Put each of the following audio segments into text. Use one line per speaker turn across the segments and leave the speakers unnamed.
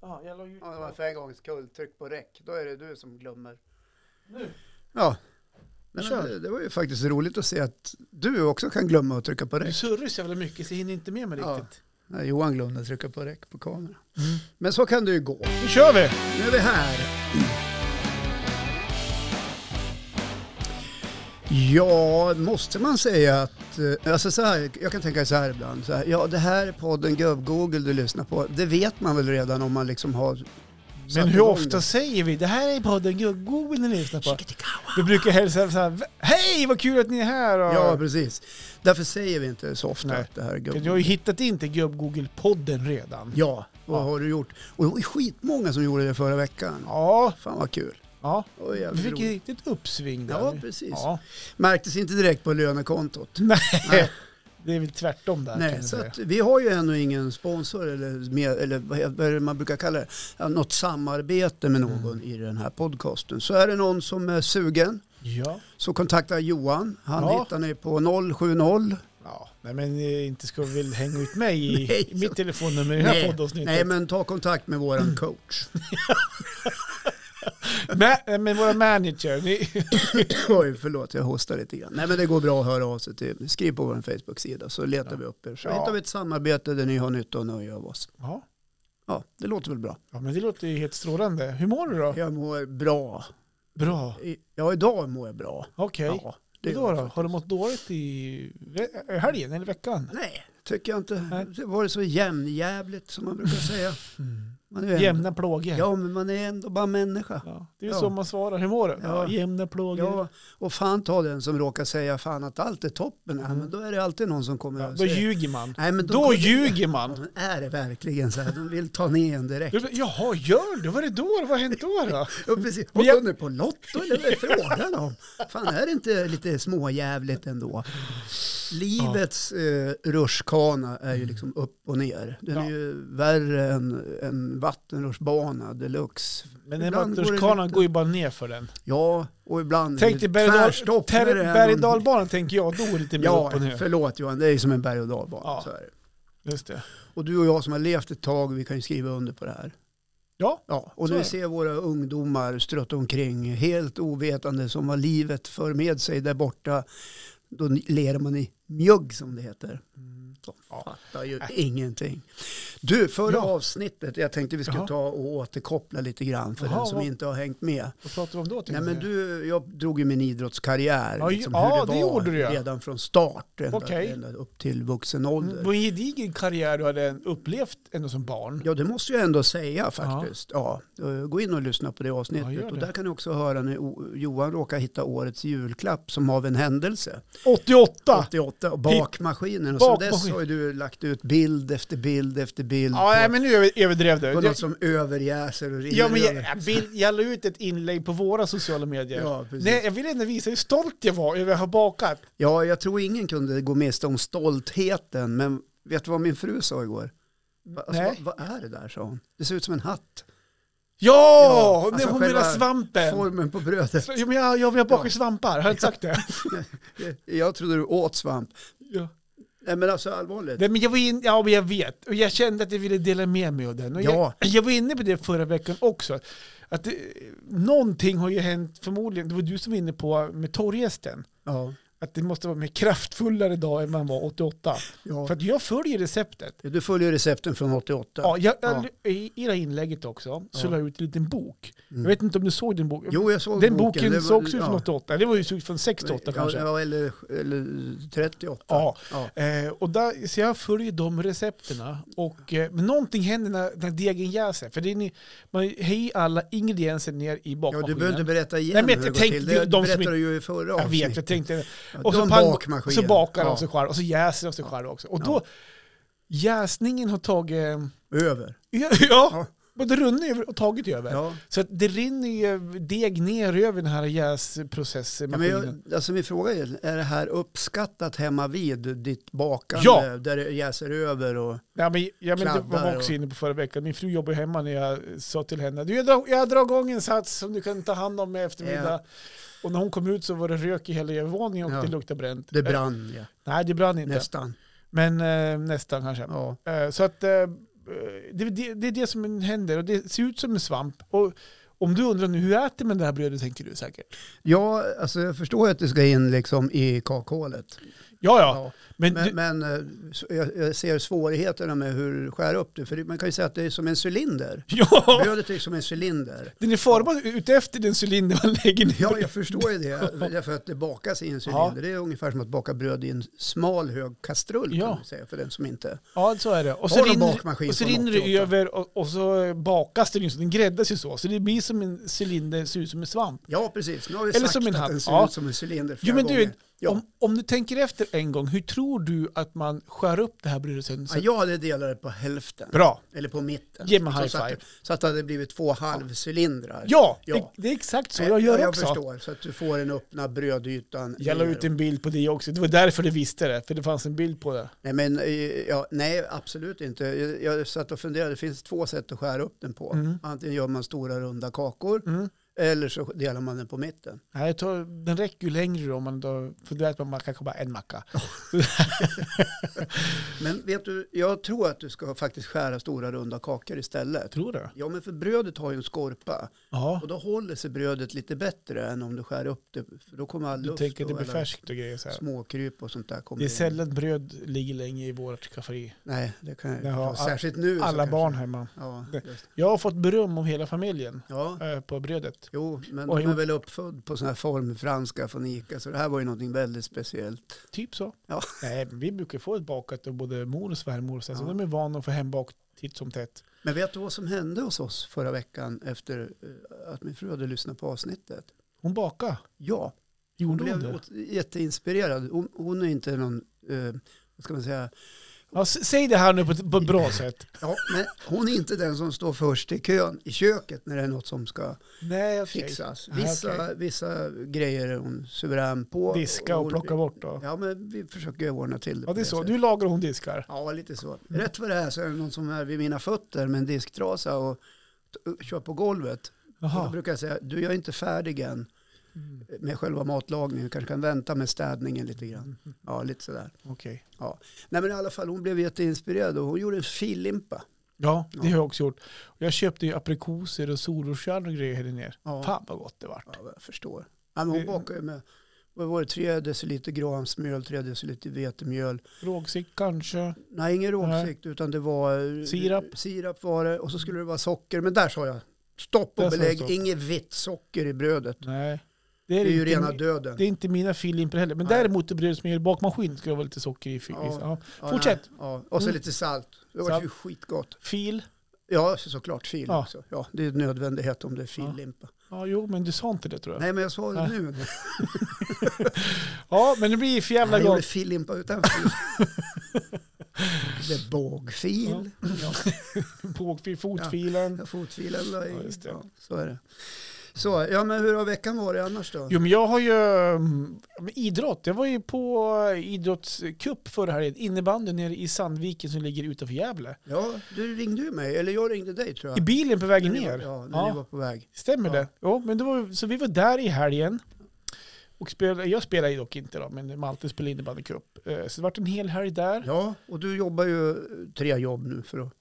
Jaha, jag la ju...
Ja, det var för en gångs skull. Tryck på räck. Då är det du som glömmer.
Nu!
Ja.
men
Men det, det var ju faktiskt roligt att se att du också kan glömma att trycka på
Du
räck.
surrar ju så jävla mycket så jag hinner inte med mig
Ja.
riktigt.
Nej, Johan glömde att trycka på räck på kameran. Men så kan det ju gå.
Nu kör vi!
Nu är vi här. Ja, måste man säga att... eh, Alltså så här, jag kan tänka så här ibland. Så här, ja, det här är podden Gubb-Google du lyssnar på. Det vet man väl redan om man liksom har...
Men
satt
hur
igång
ofta
det.
säger vi det här är podden Google vill ni lyssna på? Vi brukar hälsa så här, hej vad kul att ni är här! Och...
Ja, precis. Därför säger vi inte så ofta
Nej.
att det här är
du har ju
Gubb-Google.
hittat in till Gubb-Google-podden redan.
Ja, vad
Ja.
har du gjort? Och det var ju skitmånga som gjorde det förra veckan.
Ja,
Fan vad kul.
ja.
Det var
vi
jävligt
fick ett
roligt.
riktigt uppsving där.
Ja, precis.
Ja. Mm.
Märktes inte direkt på lönekontot.
Nej, det är väl tvärtom där kan
Nej,
jag
så
säga.
att vi har ju ännu ingen sponsor eller, med, eller vad he- vad är det man brukar kalla det, Ja, något samarbete med
Mm.
någon i den här podcasten. Så är det någon som är sugen
Ja.
så kontakta Johan. Han
Ja.
hittar ni på 070.
ja. Nej men eh, inte ska vi väl hänga ut mig i,
Nej,
i mitt telefonnummer i det här poddavsnittet.
nej, men ta kontakt med våran coach.
Ma- men våra manager, ni...
Oj, förlåt, jag hostar lite grann. Nej, men det går bra att höra av sig till. Skriv på vår Facebook-sida så letar
Ja.
vi upp er. Så
Ja.
hittar vi ett samarbete där ni har nytta och nöje av oss.
ja.
Ja, det låter väl bra.
ja, men det låter ju helt strålande. Hur mår du då?
Jag mår bra.
Bra.
I- Ja, idag mår jag bra.
Okej.
Ja,
Hur
gör
då,
jag
då? Har du mått dåligt i ve- helgen eller veckan?
Nej, tycker jag inte.
Nej.
Det var så jämnjävligt som man brukar säga. Man är ju ändå-
Jämna plågor.
Ja, men man är ändå bara människa.
Mm. Ja, Det är ju
Ja.
så man svarar. Hur mår du?
Ja.
Jämna plågor.
Ja, och fan ta den som råkar säga fan att allt är toppen. Ja,
Mm.
men då är det alltid någon som kommer
Ja,
och
då
säger.
ljuger man.
Nej, men
Då ljuger man.
Ja, men är det verkligen så här? De vill ta ner en direkt.
Du, Jaha, gör du? Vad är det då? Vad har hänt då? då?
Ja, precis.
Men
Har
jag-
jag... vunnit på Lotto eller vad är frågan om? Fan, är det inte lite småjävligt ändå? Livets eh, rutschkana är ju liksom upp och ner. Den
Ja.
är ju värre än en vattenrutschbana deluxe.
Men en
Ibland går det
vattenrutschkana
lite-
går ju bara ner för den.
Ja, och ibland
Tänk dig berg och dal-
tvärstopp när det är
ter-
någon-
berg och dalbanan tänker jag. Då går det lite mer
Ja,
upp och ner.
förlåt Johan, det är ju som en berg och dalbana.
Ja.
Så är det.
Just det.
Och du och jag som har levt ett tag, vi kan ju skriva under på det här.
Ja,
Ja, och
Så
när
är
vi
det.
ser våra ungdomar strötta omkring helt ovetande som vad livet för med sig där borta, då ler man i mjugg som det heter. De
Mm. Ja.
fattar ju
Äh.
ingenting. Du, förra
Ja.
avsnittet, jag tänkte vi skulle
Jaha.
ta och återkoppla lite grann för
Jaha,
den som
vad-
inte har hängt med.
vad pratar vi om då? tänkte
Nej, men
jag?
du, jag drog ju min idrottskarriär,
Ja, ju-
liksom,
ja,
hur det,
det
var
gjorde du, ja.
redan från start, ända,
Okej. Mm,
ända upp till vuxen ålder.
På en gedigen karriär du hade upplevt ändå som barn.
Ja, det måste jag ändå säga faktiskt. Ja. eh, Gå in och lyssna på det avsnittet.
Ja, gör
Och
det.
där kan ni också höra när O- Johan råkar hitta årets julklapp som av en händelse.
88!
88 och bakmaskinen. Och sen dess
Bakmaskin.
har ju du lagt ut bild efter bild efter bild
Ja, nej,
på,
men nu över- överdrev
på
du.
något som överjäser och rinner.
Ja, men jag,
över.
jag, bild- jag la ut ett inlägg på våra sociala medier.
Ja, precis.
Nej, jag ville ändå visa hur stolt jag var över att ha bakat.
ja, jag tror ingen kunde gå miste om stoltheten. Men vet du vad min fru sa igår? Va, alltså,
Nej.
Vad, vad är det där, sa hon. Det ser ut som en hatt.
Ja!
alltså
hon
själva
menar svampen.
Formen på brödet.
Ja, men jag, jag, jag bakar
Ja.
svampar, har jag inte sagt det?
Jag trodde du åt svamp.
Ja.
Nej, men alltså allvarligt.
Nej, men jag, var in, ja, men jag vet, och jag kände att jag ville dela med mig av den. Och
Ja.
jag, jag var inne på det förra veckan också. Att det, någonting har ju hänt, förmodligen, det var du som var inne på med torrjästen.
Ja.
Att det måste vara mer kraftfullare idag än man var 88.
Ja.
För att jag följer receptet.
Du följer recepten från 88.
Ja, jag, jag, I i det här inlägget också så
Ja. Mm.
la jag ut en liten bok. Jag vet inte om du såg den boken?
Jo, jag såg
den
boken.
boken
Det var-
sågs ju från
ja.
88, det var ju såg från 68
ja,
kanske.
Ja, eller, eller 38.
Ja.
Ja.
Eh, och där, så jag följer de recepterna. Och, eh, men någonting händer när, när degen jäser. För det är ni, man hejar alla ingredienser ner i
Ja,
bakmaskinen.
du behöver inte berätta igen
Nej, men
hur
jag
det
tänkte-
går till. Det
de som
berättade
inte-
du ju i förra
jag vet,
avsnitet.
jag tänkte
Ja,
Och så,
de
pang,
bakmaskinen.
så bakar
Ja.
de sig själva och så jäser de sig själva också. Och då, jäsningen har tagit...
Över.
Ja,
Ja.
ja. både runnit över och tagit över.
Ja.
Så att det rinner ju deg ner över den här
Ja, men
jäsprocessmaskinen.
jag, alltså min fråga är, är det här uppskattat hemma vid ditt bakande?
Ja.
Där det jäser över och...
Ja, men, ja, men det
Kladdar
var jag också
och-
inne på förra veckan. Min fru jobbar ju hemma när jag sa till henne du, jag, drar, jag drar igång en sats som du kan ta hand om i eftermiddag.
Ja.
Och när hon kom ut så var det rök i hela övervåningen och
Ja.
det luktade bränt.
Det
Eh,
brann, ja.
nej, det brann inte.
Nästan.
Men eh, nästan kanske.
Ja.
Eh, så att eh, det, det, det är det som händer och det ser ut som en svamp. Och om du undrar nu, hur äter man det här brödet tänker du säkert.
Ja, alltså jag förstår ju att det ska in liksom i kakhålet.
Ja, ja.
Ja.
Men,
Men,
du,
men eh, så- jag, jag ser svårigheterna med hur du skär upp det. För det- man kan ju säga att det är som en cylinder.
ja
Brödet är som en cylinder.
den är formad utefter den cylinder man lägger ner.
Ja, jag förstår ju det. Därför att det bakas i en cylinder. Det är ungefär som att baka bröd i en smal hög kastrull
Ja.
kan man säga. För den som inte...
Ja, så är det. Och så
Har de
rinner,
bakmaskin
och så
från
rinner det
88?
över och, och så bakas den ju så. Den gräddas ju så. Så det blir som en cylinder, ser ut som en svamp.
Ja, precis. Nu har vi
Eller
sagt
som en
att
hatt.
den ser
Ja.
ut som en cylinder
Jo,
flera
men du,
gånger. Ja.
om, om du tänker efter en gång, hur tror du att man skär upp det här brödet sen?
Ja, jag hade delat det på hälften.
Bra.
Eller på mitten.
Ge mig
Så
high
satt-
five.
Så att det hade blivit två halvcylindrar.
Ja,
Ja.
Det, det är exakt så jag gör
jag
också.
förstår. Så att du får den öppna brödytan.
Jag la
ner.
ut en bild på det också. Det var därför du visste det, för det fanns en bild på det.
Nej, men, eh, ja, nej, absolut inte. Jag, jag satt och funderade, det finns två sätt att skära upp den på.
Mm.
Antingen gör man stora runda kakor eller så delar man den på mitten.
Nej, jag tar, den räcker ju längre om man då, för då äter man kanske bara en macka.
Men vet du, jag tror att du ska faktiskt skära stora runda kakor istället.
Tror du?
Ja, men för brödet har ju en skorpa
Ja,
och då håller sig brödet lite bättre än om du skär upp det. För då kommer all
du
luft
tänker att det
och
blir
alla
färskt och grejer så här.
småkryp och sånt där kommer
Det är
in.
sällan bröd ligger länge i vårt skafferi.
Nej, det kan jag
Det har
ja, Särskilt nu. så
Alla
kanske-
barn hemma.
Ja, just.
Jag har fått beröm om hela familjen
ja.
eh, på brödet.
Jo, men
Och
de
jo-
är väl uppfödd på sån här formfranska från Ica, så det här var ju någonting väldigt speciellt.
Typ så.
Ja.
Nej, men vi brukar få ett bakat av både mor och svärmor. Så alltså
Ja.
de är vana att få hembakt titt som tätt.
Men vet du vad som hände hos oss förra veckan efter eh, att min fru hade lyssnat på avsnittet?
Hon bakade.
Ja, hon
Gjorde hon
blev
det?
åt- jätteinspirerad. Hon, hon är inte någon, eh, vad ska man säga,
Ja, s- säg det här nu på ett, på ett bra sätt.
ja, men hon är inte den som står först i kön i köket när det är något som ska
Nej, okej.
fixas.
Ah, okej.
Vissa, vissa grejer är hon suverän på.
Diska och
hon-
plocka bort då.
Ja, men vi försöker ordna till det.
Ja,
på
det är så.
sättet.
Du lagar och hon diskar.
Ja, lite så. Rätt vad det är så är det någon som är vid mina fötter med en disktrasa och t- kör på golvet. Och då
Jaha.
brukar jag säga, du jag är inte färdig än
Mm,
med själva matlagningen, du kanske kan vänta med städningen lite grann. Ja, lite sådär.
Okej.
Nej men i alla fall, hon blev jätteinspirerad och hon gjorde en fillimpa.
Ja, det
Ja.
har jag också gjort. Och Jag köpte ju aprikoser och solroskärnor och grejer här nere.
Ja,
Fan vad gott det var.
ja jag förstår. Ja, men hon
Det-
bakade ju med, vad var det, tre deciliter granmjöl, tre deciliter vetemjöl.
Rågsikt kanske.
Nej, ingen rågsikt utan det var
Sirap.
sirap var det och så skulle det vara socker. Men där sa jag, stopp
Där
och
sa du
belägg,
stopp.
inget vitt socker i brödet.
Nej.
Det är ju
inte
rena
mi-
döden.
Det är inte mina fillimper heller. Men
Nej.
däremot det bröd som jag gör i bakmaskin ska jag vara lite socker i.
Ja.
Ja. Ja.
Ja,
fortsätt.
nej, Ja. Och så
Mm.
lite salt. Det var
Salt.
ju skitgott.
Fil.
Ja, så- såklart fil
Ja.
också. Ja, det är en nödvändighet om det är fillimpa.
Ja, jo, men du sa inte det tror jag.
Nej, men jag sa det
Nej.
nu.
Ja, men det blir för jävla
Jag gjorde
gott.
fillimpa utan fil. det är bågfil. Ja.
Bågfil, fotfilen.
Fotfilen la
Ja,
i.
just det.
Ja, så är det. Så, ja men hur har veckan varit annars då?
Jo, men jag har ju mm, ja, men idrott. Jag var ju på idrottscup förra helgen, innebandy nere i Sandviken som ligger utanför Gävle.
Ja, du ringde ju mig, eller jag ringde dig tror jag.
I bilen på vägen
När ni var-
ner.
Ja, när
Ja.
ni var på väg.
Stämmer
Ja.
det? Jo, men det var, så vi var där i helgen. Och spelade, jag spelade ju dock inte då, men Malte spelade innebandycup. Eh, Så det vart en hel helg där.
Ja, och du jobbar ju tre jobb nu för att,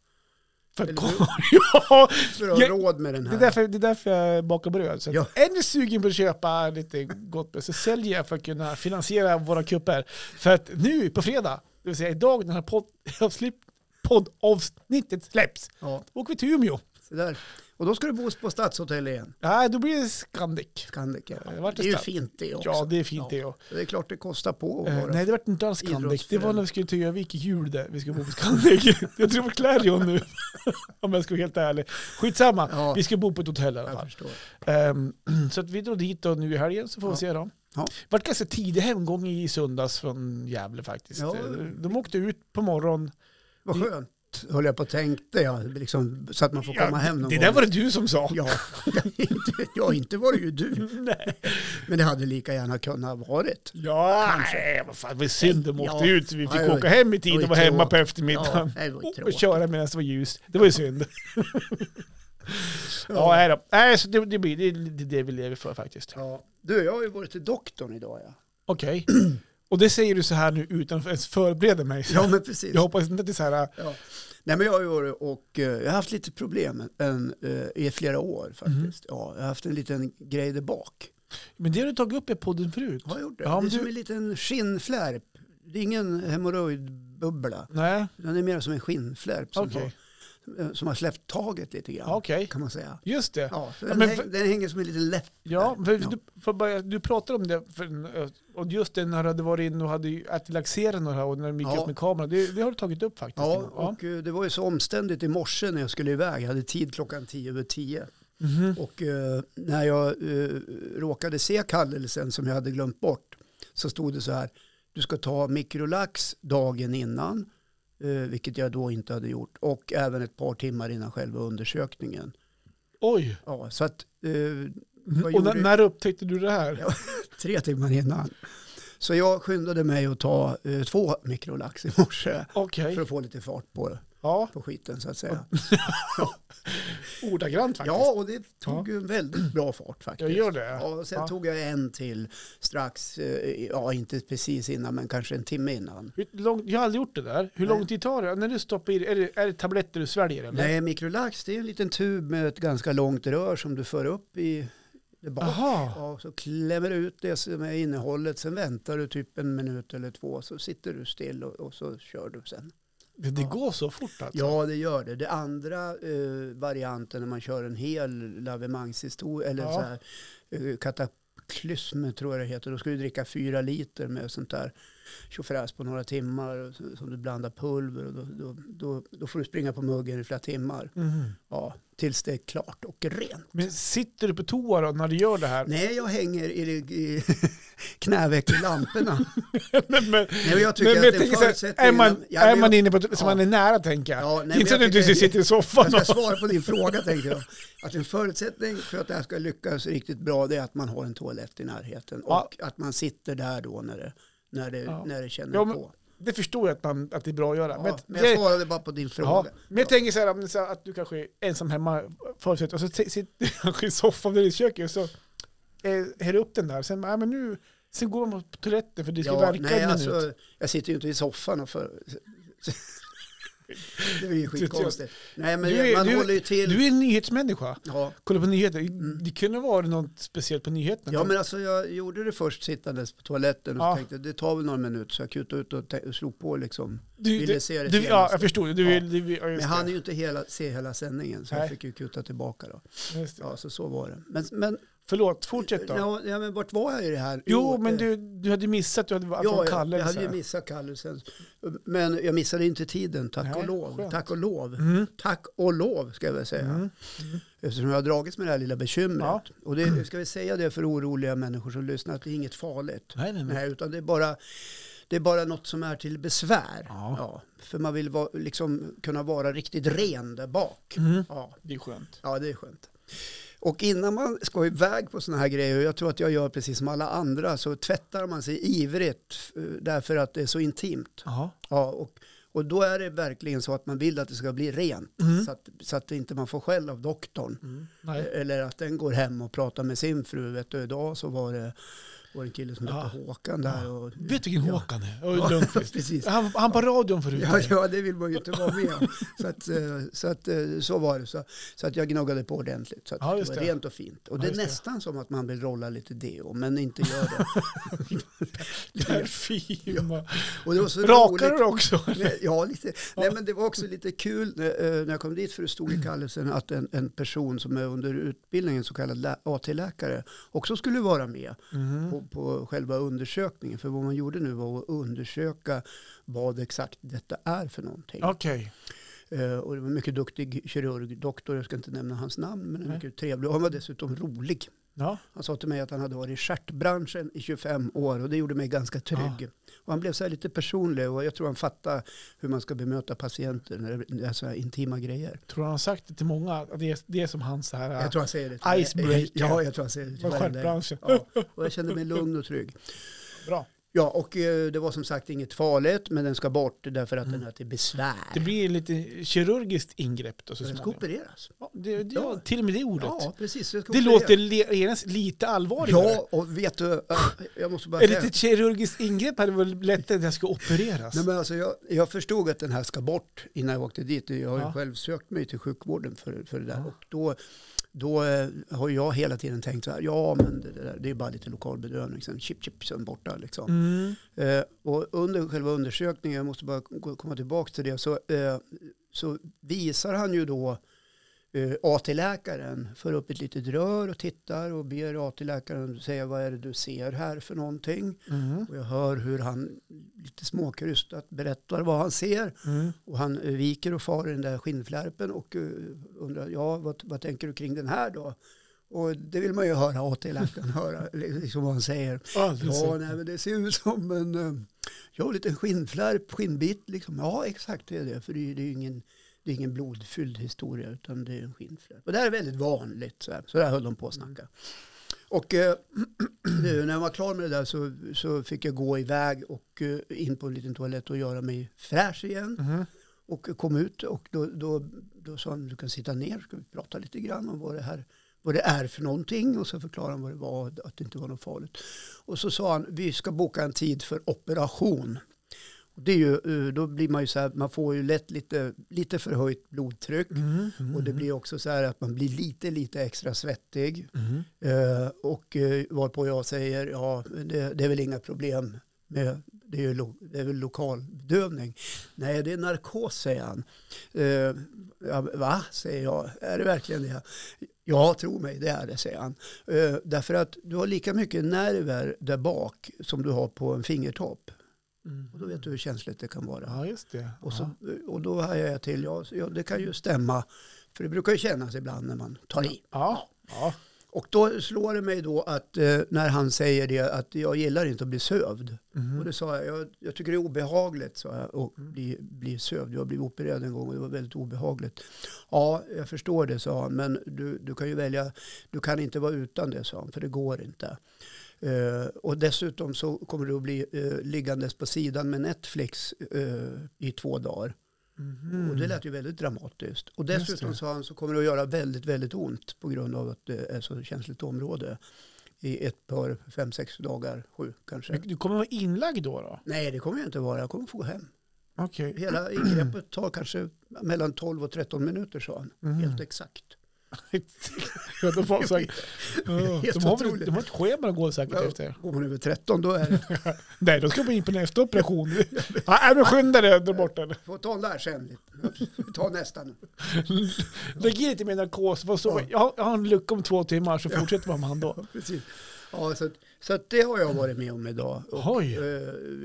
För att
eller
komma, ja,
för att
Jag-
ha råd med den
det, är
här.
därför, det är därför jag bakar bröd. Så att
Ja.
Är ni sugen på att köpa lite gott bröd så säljer jag för att kunna finansiera våra kupper. För att nu på fredag, det vill säga idag när den här podd, avslipp- poddavsnittet släpps,
Ja,
då åker vi till Umeå.
så där. Och då ska du bo på Stadshotell igen.
Nej, då blir det Scandic.
Scandic. Ja.
Det vart
Det är ju
stad.
fint det också.
Ja, det är fint
Ja.
det. Och.
Det är klart det kostar på att
Eh,
vara.
nej, det var inte alls Scandic. Det var
Idrottsförening.
när vi skulle till Övik i jul där. Vi skulle bo på Scandic. jag tror på Clarion nu. Om jag ska vara helt ärlig. Skitsamma.
Ja.
Vi ska bo på ett hotell i alla
Jag
fall.
förstår.
Ehm, så att vi drog dit och nu i helgen så får vi
Ja.
se då.
Ja.
Det var ganska tidig hemgång i söndags från Gävle faktiskt.
Ja.
Eh, De åkte ut på morgonen.
Vad skönt, höll jag på att tänkte jag, liksom, så att man får
Ja,
komma hem någon
det
gång.
där var det du som sa.
Ja, inte, ja, inte var det ju du.
Nej.
Men det hade lika gärna kunnat ha varit.
Ja, nej, vad fan, det var synd de åkte
Ja.
ut. så Vi fick
Ja, det var-
åka hem i
det
tid
var ju
och vara hemma
tråkigt.
på
Ja,
eftermiddagen.
det var ju
Och- och
tråkigt.
köra medan det var ljust. Det var ju synd. Ja, nej då. Nej, så det, det blir det, det, är det vi lever för faktiskt.
Ja. Du, jag har ju varit till doktorn idag. Ja,
Okej. Och det säger du så här nu utan att ens förbereda mig.
ja men precis.
Jag hoppas inte att det är så här,
Ja. Nej, men jag har ju varit och eh, jag har haft lite problem en, eh, i flera år
Mm-hmm.
faktiskt. Ja, jag har haft en liten grej där bak.
Men det har du tagit upp i podden förut.
Har jag gjort det?
Ja,
det
men
är som
du-
en liten skinnflärp. Det är ingen hemorrojdbubbla.
Nej,
Den är mer som en skinnflärp som,
okej.
har, eh, som har släppt taget lite grann.
Okej,
Kan man säga.
just det.
Ja, så
Ja,
den,
men
häng,
för-
den hänger som en liten läpp.
Ja,
där.
för Du, för bara, du pratade om det, för, och just det när du hade varit inne och hade ju ätit laxeren och, det här, och när de gick
Ja.
upp med kameran, det, det har du tagit upp faktiskt.
Ja,
innan.
och eh, det var ju så omständigt i morse när jag skulle iväg. Jag hade tid klockan tio över tio.
Mhm.
Och eh, när jag eh, råkade se kallelsen som jag hade glömt bort så stod det så här. Du ska ta mikrolax dagen innan, eh, vilket jag då inte hade gjort. Och även ett par timmar innan själva undersökningen.
Oj,
Ja, så att eh, Vad
och
gjorde
när,
du?
när upptäckte du det här?
Ja. tre timmar innan. Så jag skyndade mig att ta eh, två mikrolax i morse
Okej,
för att få lite fart på,
ja,
på skiten så att säga.
ordagrant faktiskt.
Ja, och det tog ju en väldigt bra fart faktiskt.
jag gör det.
Ja, och sen
Ja.
tog jag en till strax, eh, ja inte precis innan men kanske en timme innan.
Hur lång, jag har aldrig gjort det där. Hur
Nej.
lång tid tar det? När du stoppar i det, är det, är det tabletter du sväljer eller?
Nej, mikrolax det är en liten tub med ett ganska långt rör som du för upp i det bak.
Jaha,
Ja, så klämmer du ut det som är innehållet, sen väntar du typ en minut eller två, så sitter du still och, och så kör du sen.
det, det
Ja.
går så fort alltså?
Ja, det gör det. Det andra eh, varianten när man kör en hel lavemangshistoria, eller
Ja.
så här, eh, kataklysm tror jag det heter, då ska du dricka fyra liter med sånt där tjofräs på några timmar, och så- som du blandar pulver och då, då, då, då får du springa på muggen i flera timmar.
Mhm.
Ja, tills det är klart och rent.
Men sitter du på toa då när du gör det här?
Nej, jag hänger i, det- i knäveck i lamporna.
men, men,
Nej, men jag tycker
men, men jag
att det är
tänker så här, är
förutsättningen-
man,
Ja,
är
men
man
jag-
inne på så
ja.
man är nära tänker jag.
Ja, nej, men
inte så
jag
att du
tycker-
sitter i soffan
Jag
och...
ska svara på din fråga tänkte jag. Att en förutsättning för att det här ska lyckas riktigt bra det är att man har en toalett i närheten
Ja.
och att man sitter där då när det, när det,
Ja.
när det känner
Ja, men-
på.
Det förstår jag att, man, att det är bra att göra.
Ja,
men,
men jag svarade bara på din
ja,
fråga.
men jag tänker så här, om det är så här att du kanske är ensam hemma förutsätt, och så t- sitter du kanske i soffan eller i köket och så eh, häller upp den där. Sen, ja, men nu, sen går man på toaletten för det ska verka
nej,
en minut.
alltså, jag sitter ju inte i soffan och för... Det är ju skitkonstigt. Nej, men
Du är-
man
du-
håller ju till...
Du är en nyhetsmänniska.
ja.
Kolla på nyheter. Det kunde vara något speciellt på nyheterna.
Mm. Ja men alltså jag gjorde det först sittandes på toaletten och
Ja.
så tänkte jag, det tar väl några minuter så jag kutade ut och, tä- och slog på liksom.
du,
ville
du,
se det
du, ja,
senaste.
jag förstod. det. Du
Ja.
vill, du vill, ja, just
Men han är ju inte hela, se hela sändningen så
Nej.
jag fick ju kuta tillbaka då.
det. Just det.
Ja, så, så var det. Men, men,
Förlåt, fortsätt då.
ja, ja, men vart var jag i det här?
Jo, men
eh,
du, du hade missat du hade, att
Ja,
ja,
jag,
Kalle.
jag hade
så
ju
här.
missat kallelsen. Men jag missade inte tiden, tack
Nej,
och lov.
skönt.
Tack och lov.
Mm.
Tack och lov, ska jag väl säga.
Mm.
Eftersom jag har dragits med det här lilla bekymret.
Ja.
Och det, ska vi säga det för oroliga människor som lyssnar, att det är inget farligt.
Nej, nej, nej.
Nej, utan det är, bara, det är bara något som är till besvär.
Ja.
för man vill va, liksom, kunna vara riktigt ren där bak.
Mm.
Ja.
Det är skönt.
Ja, det är skönt. Och innan man ska iväg på sådana här grejer, och jag tror att jag gör precis som alla andra, så tvättar man sig ivrigt eh, därför att det är så intimt.
Ja.
Ja, och, och då är det verkligen så att man vill att det ska bli rent,
Mm.
så, att, så att inte man får skäll av doktorn. Eh,
Mm. Nej.
Eller att den går hem och pratar med sin fru. Vet du, idag så var det, var det en kille som hette
Ja.
Håkan där. Och,
Vet du vilken
Ja.
Håkan är? Och Lundqvist.
precis.
Han, han på radion förut.
Ja, ja, det vill man ju inte vara med om. Så, att, eh, så, att, eh, så var det. Så, så att jag gnuggade på ordentligt. Så att
Ja,
det
just
var
det.
rent och fint. Och
Ja,
det är
just det.
nästan som att man vill rolla lite deo, men inte gör det.
Parfym.
Och det var så
Rakar
roligt.
du också?
Nej, Ja, lite. Nej, men det var också lite kul när, eh, när jag kom dit, för det stod i kallelsen att en, en person som är under utbildning, en så kallad lä- AT-läkare, också skulle vara med
Mm.
på, på själva undersökningen. För vad man gjorde nu var att undersöka vad exakt detta är för någonting.
Okej.
Eh, Och det var en mycket duktig kirurg, doktor, jag ska inte nämna hans namn, men en
Nej.
mycket trevlig. Och han var dessutom rolig.
Ja.
Han sa till mig att han hade varit i stjärtbranschen i 25 år och det gjorde mig ganska trygg. Och han blev så här lite personlig och jag tror han fattar hur man ska bemöta patienter när det är så här intima grejer.
Tror du han har sagt det till många? Att det är, det är som hans så här...
Jag tror han säger det. till mig.
Icebreaker.
Ja, jag tror han säger det. till
Från
varenda en.
stjärtbranschen.
Ja, och jag kände mig lugn och trygg.
Bra.
Ja, och eh, det var som sagt inget farligt, men den ska bort därför att den är till besvär.
Mm. Det blir lite kirurgiskt ingrepp då så
Den ska
småningom.
opereras.
Ja, det, det, ja, till och med det ordet.
Ja, precis. den ska
det
opereras.
låter le- ens lite allvarligare.
Ja, och vet du, eh, jag måste bara
Ett
säga.
litet kirurgiskt ingrepp hade varit lättare än att jag ska opereras.
Nej, men alltså jag, jag förstod att den här ska bort innan jag åkte dit. Jag har ju
Ja.
själv sökt mig till sjukvården för, för det där.
Ja.
Och då, då eh, har jag hela tiden tänkt så här, ja men det, det där, det är bara lite lokal bedövning, sen chip chip, sen borta liksom.
Mm.
Eh, och under själva undersökningen, jag måste bara gå- komma tillbaka till det, så, eh, så visar han ju då eh, AT-läkaren, för upp ett litet rör och tittar och ber AT-läkaren säga vad är det du ser här för någonting.
Mm.
Och jag hör hur han lite småkrystat berättar vad han ser.
Mm.
Och han eh, viker och far i den där skinnflärpen och eh, undrar, ja vad, vad tänker du kring den här då? Och det vill man ju höra AT-läkaren höra, liksom vad han säger.
Alldeles
Ja,
säkert.
nej, men det ser ut som en, eh, ja, en liten skinnflärp, skinnbit liksom. Ja, exakt det är det. För det är, det är ju ingen, det är ingen blodfylld historia utan det är en skinnflärp. Och det här är väldigt vanligt. Så, här. så där höll de på att snacka. Och eh, nu när jag var klar med det där så, så fick jag gå iväg och eh, in på en liten toalett och göra mig fräsch igen.
Mhm.
Och kom ut och då, då, då sa han, du kan sitta ner, ska vi prata lite grann om vad det här vad det är för någonting och så förklarade han vad det var, att det inte var något farligt. Och så sa han, vi ska boka en tid för operation. Och det är ju, eh, då blir man ju så här, man får ju lätt lite, lite förhöjt blodtryck
Mm. Mm.
och det blir också så här att man blir lite, lite extra svettig.
Mm.
Eh, och eh, varpå jag säger, ja, det, det är väl inga problem med, det är ju lo, det är väl lokalbedövning. Nej, det är narkos, säger han. Eh, ja, va, säger jag, är det verkligen det? Ja, tro mig, det är det, säger han. Eh, därför att du har lika mycket nerver där bak som du har på en fingertopp.
Mm.
Och då vet du hur känsligt det kan vara.
Ja, just det.
Och, så,
ja.
och då hajar jag till, ja, så- ja, det kan ju stämma. För det brukar ju kännas ibland när man tar i.
Ja. Ja.
Och då slår det mig då att eh, när han säger det att jag gillar inte att bli sövd.
Mhm.
Och det sa jag, jag, jag tycker det är obehagligt sa jag, att bli, bli sövd. Jag blev opererad en gång och det var väldigt obehagligt. Ja, jag förstår det sa han, men du, du kan ju välja, du kan inte vara utan det sa han, för det går inte. Eh, och dessutom så kommer du att bli eh, liggandes på sidan med Netflix eh, i två dagar.
Mhm.
Och det lät ju väldigt dramatiskt. Och
Just
dessutom
det.
sa han så kommer det att göra väldigt, väldigt ont på grund av att det är så känsligt område. I ett par, fem, sex dagar, sju kanske.
Du- Du kommer vara inlagd då? då?
Nej, det kommer jag inte vara. Jag kommer få gå hem.
Okej.
Hela ingreppet tar kanske mellan 12 och 13 minuter, sa han.
Mm.
Helt exakt.
Ja, de, har sagt, ja, de, har väl,
otroligt.
de har ett schema att gå säkert
Ja.
efter.
Går man över 13 då är det,
Nej, då ska man in på nästa operation. Ja, nej, men skynda dig, dra bort den.
får ta den där sen. Ta nästa nu.
Lägg i lite mer narkos. vad så-
Ja.
Jag har- jag har en lucka om två timmar så fortsätter man med han då.
Precis. Ja, så att, så att det har jag varit med om idag.
Oj.
Eh,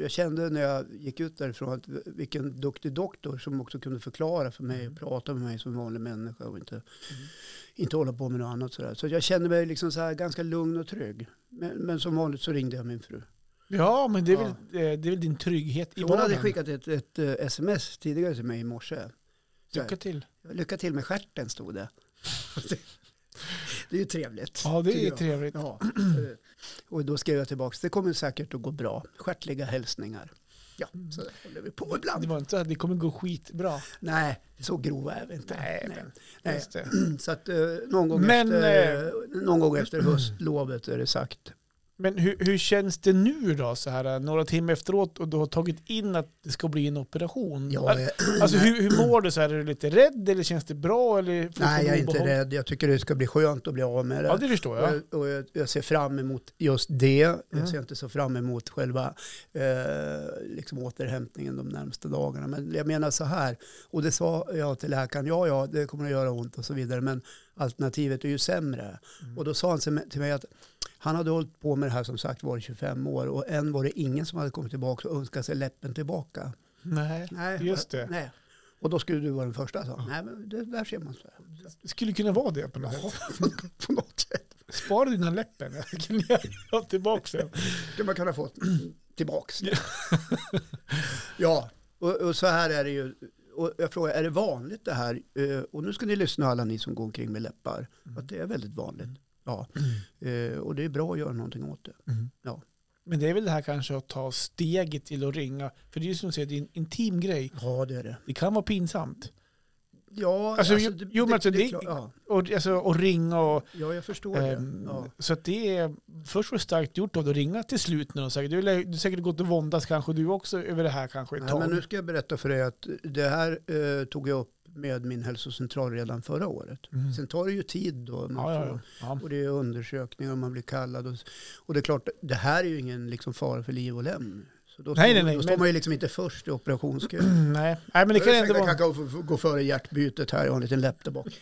Jag kände när jag gick ut därifrån att vilken duktig doktor som också kunde förklara för mig
Mm.
och prata med mig som vanlig människa och inte, inte hålla på med något annat sådär. Så jag kände mig liksom så här ganska lugn och trygg. Men, men som vanligt så ringde jag min fru.
Ja, men det är, väl, eh, det är väl din trygghet i
Hon hade
vardagen.
skickat ett, ett eh, sms tidigare till mig i morse. Så här,
Lycka till.
Lycka till med stjärten stod det. Det är ju trevligt.
Ja,
tycker
det är
jag.
trevligt.
Ja. eh, Och då skrev jag tillbaka, det kommer säkert att gå bra. Skärtliga hälsningar. Ja, så
Mm.
där håller vi på
Det
ibland.
var inte så att det kommer gå skitbra.
Nej, så grova är vi inte.
Nej,
Nej.
men-
Nej.
Just det.
Så att eh, någon gång,
Men, eh,
efter, eh, någon gång efter höstlovet är det sagt.
Men hur, hur känns det nu då, så här eh, några timmar efteråt och du har tagit in att det ska bli en operation?
Jag,
Al-
är-
alltså hur, hur mår du? Så här, är du lite rädd eller känns det bra? Eller
nej, jag är inte
obehag?
rädd. Jag tycker det ska bli skönt att bli av med det.
Ja, det förstår
Och
jag.
jag, och jag, jag ser fram emot just det.
Mm.
Jag ser inte så fram emot själva eh, liksom återhämtningen de närmsta dagarna. Men jag menar så här, och det sa jag till läkaren, ja ja det kommer att göra ont och så vidare, men alternativet är ju sämre. Och då sa han till mig- till mig att han hade hållit på med det här som sagt var i 25 år och än var det ingen som hade kommit tillbaka och önskat sig läppen tillbaka.
Nej.
Nej,
Just det.
Nej. Och då skulle du vara den första, sa han. Nej, men det där ser man. Så här.
Det skulle kunna vara det på något sätt.
På något sätt.
Spara dina läppen. Jag kan ha tillbaka sen.
skulle man kunna få tillbaks. ja, och, och så här är det ju. Och jag frågar, är det vanligt det här? Eh, Och nu ska ni lyssna alla ni som går omkring med läppar. Att det är väldigt vanligt. Ja, Eh, och det är bra att göra någonting åt det.
Mm.
Ja.
Men det är väl det här kanske att ta steget till att ringa. För det är ju som du säger, det är en intim grej.
Ja, det är det.
Det kan vara pinsamt.
Ja,
Alltså, jo- jo, men alltså, det-
är klart- ja,
Och, alltså, och ringa och...
ja, jag förstår
ehm,
det. Ja.
Så att det är... Först var det starkt gjort av dig att ringa till slut när de säger du, lär- du har säkert gått och våndats kanske du också över det här kanske ett
Nej,
tag.
men nu ska jag berätta för dig att det här eh, tog jag upp med min hälsocentral redan förra året.
Mm.
Sen tar det ju tid då. Man
ja, ja,
får-
ja. ja.
Och det är undersökningar och man blir kallad. Och, och det är klart, det här är ju ingen liksom, fara för liv och lem. Så då,
Nej,
står,
nej, nej,
då står
men-
man ju liksom inte först i operationskön.
Nej. Nej, men det kan ändå
Jag
vara...
kan gå- gå före hjärtbytet här, jag har en liten läpp där bak.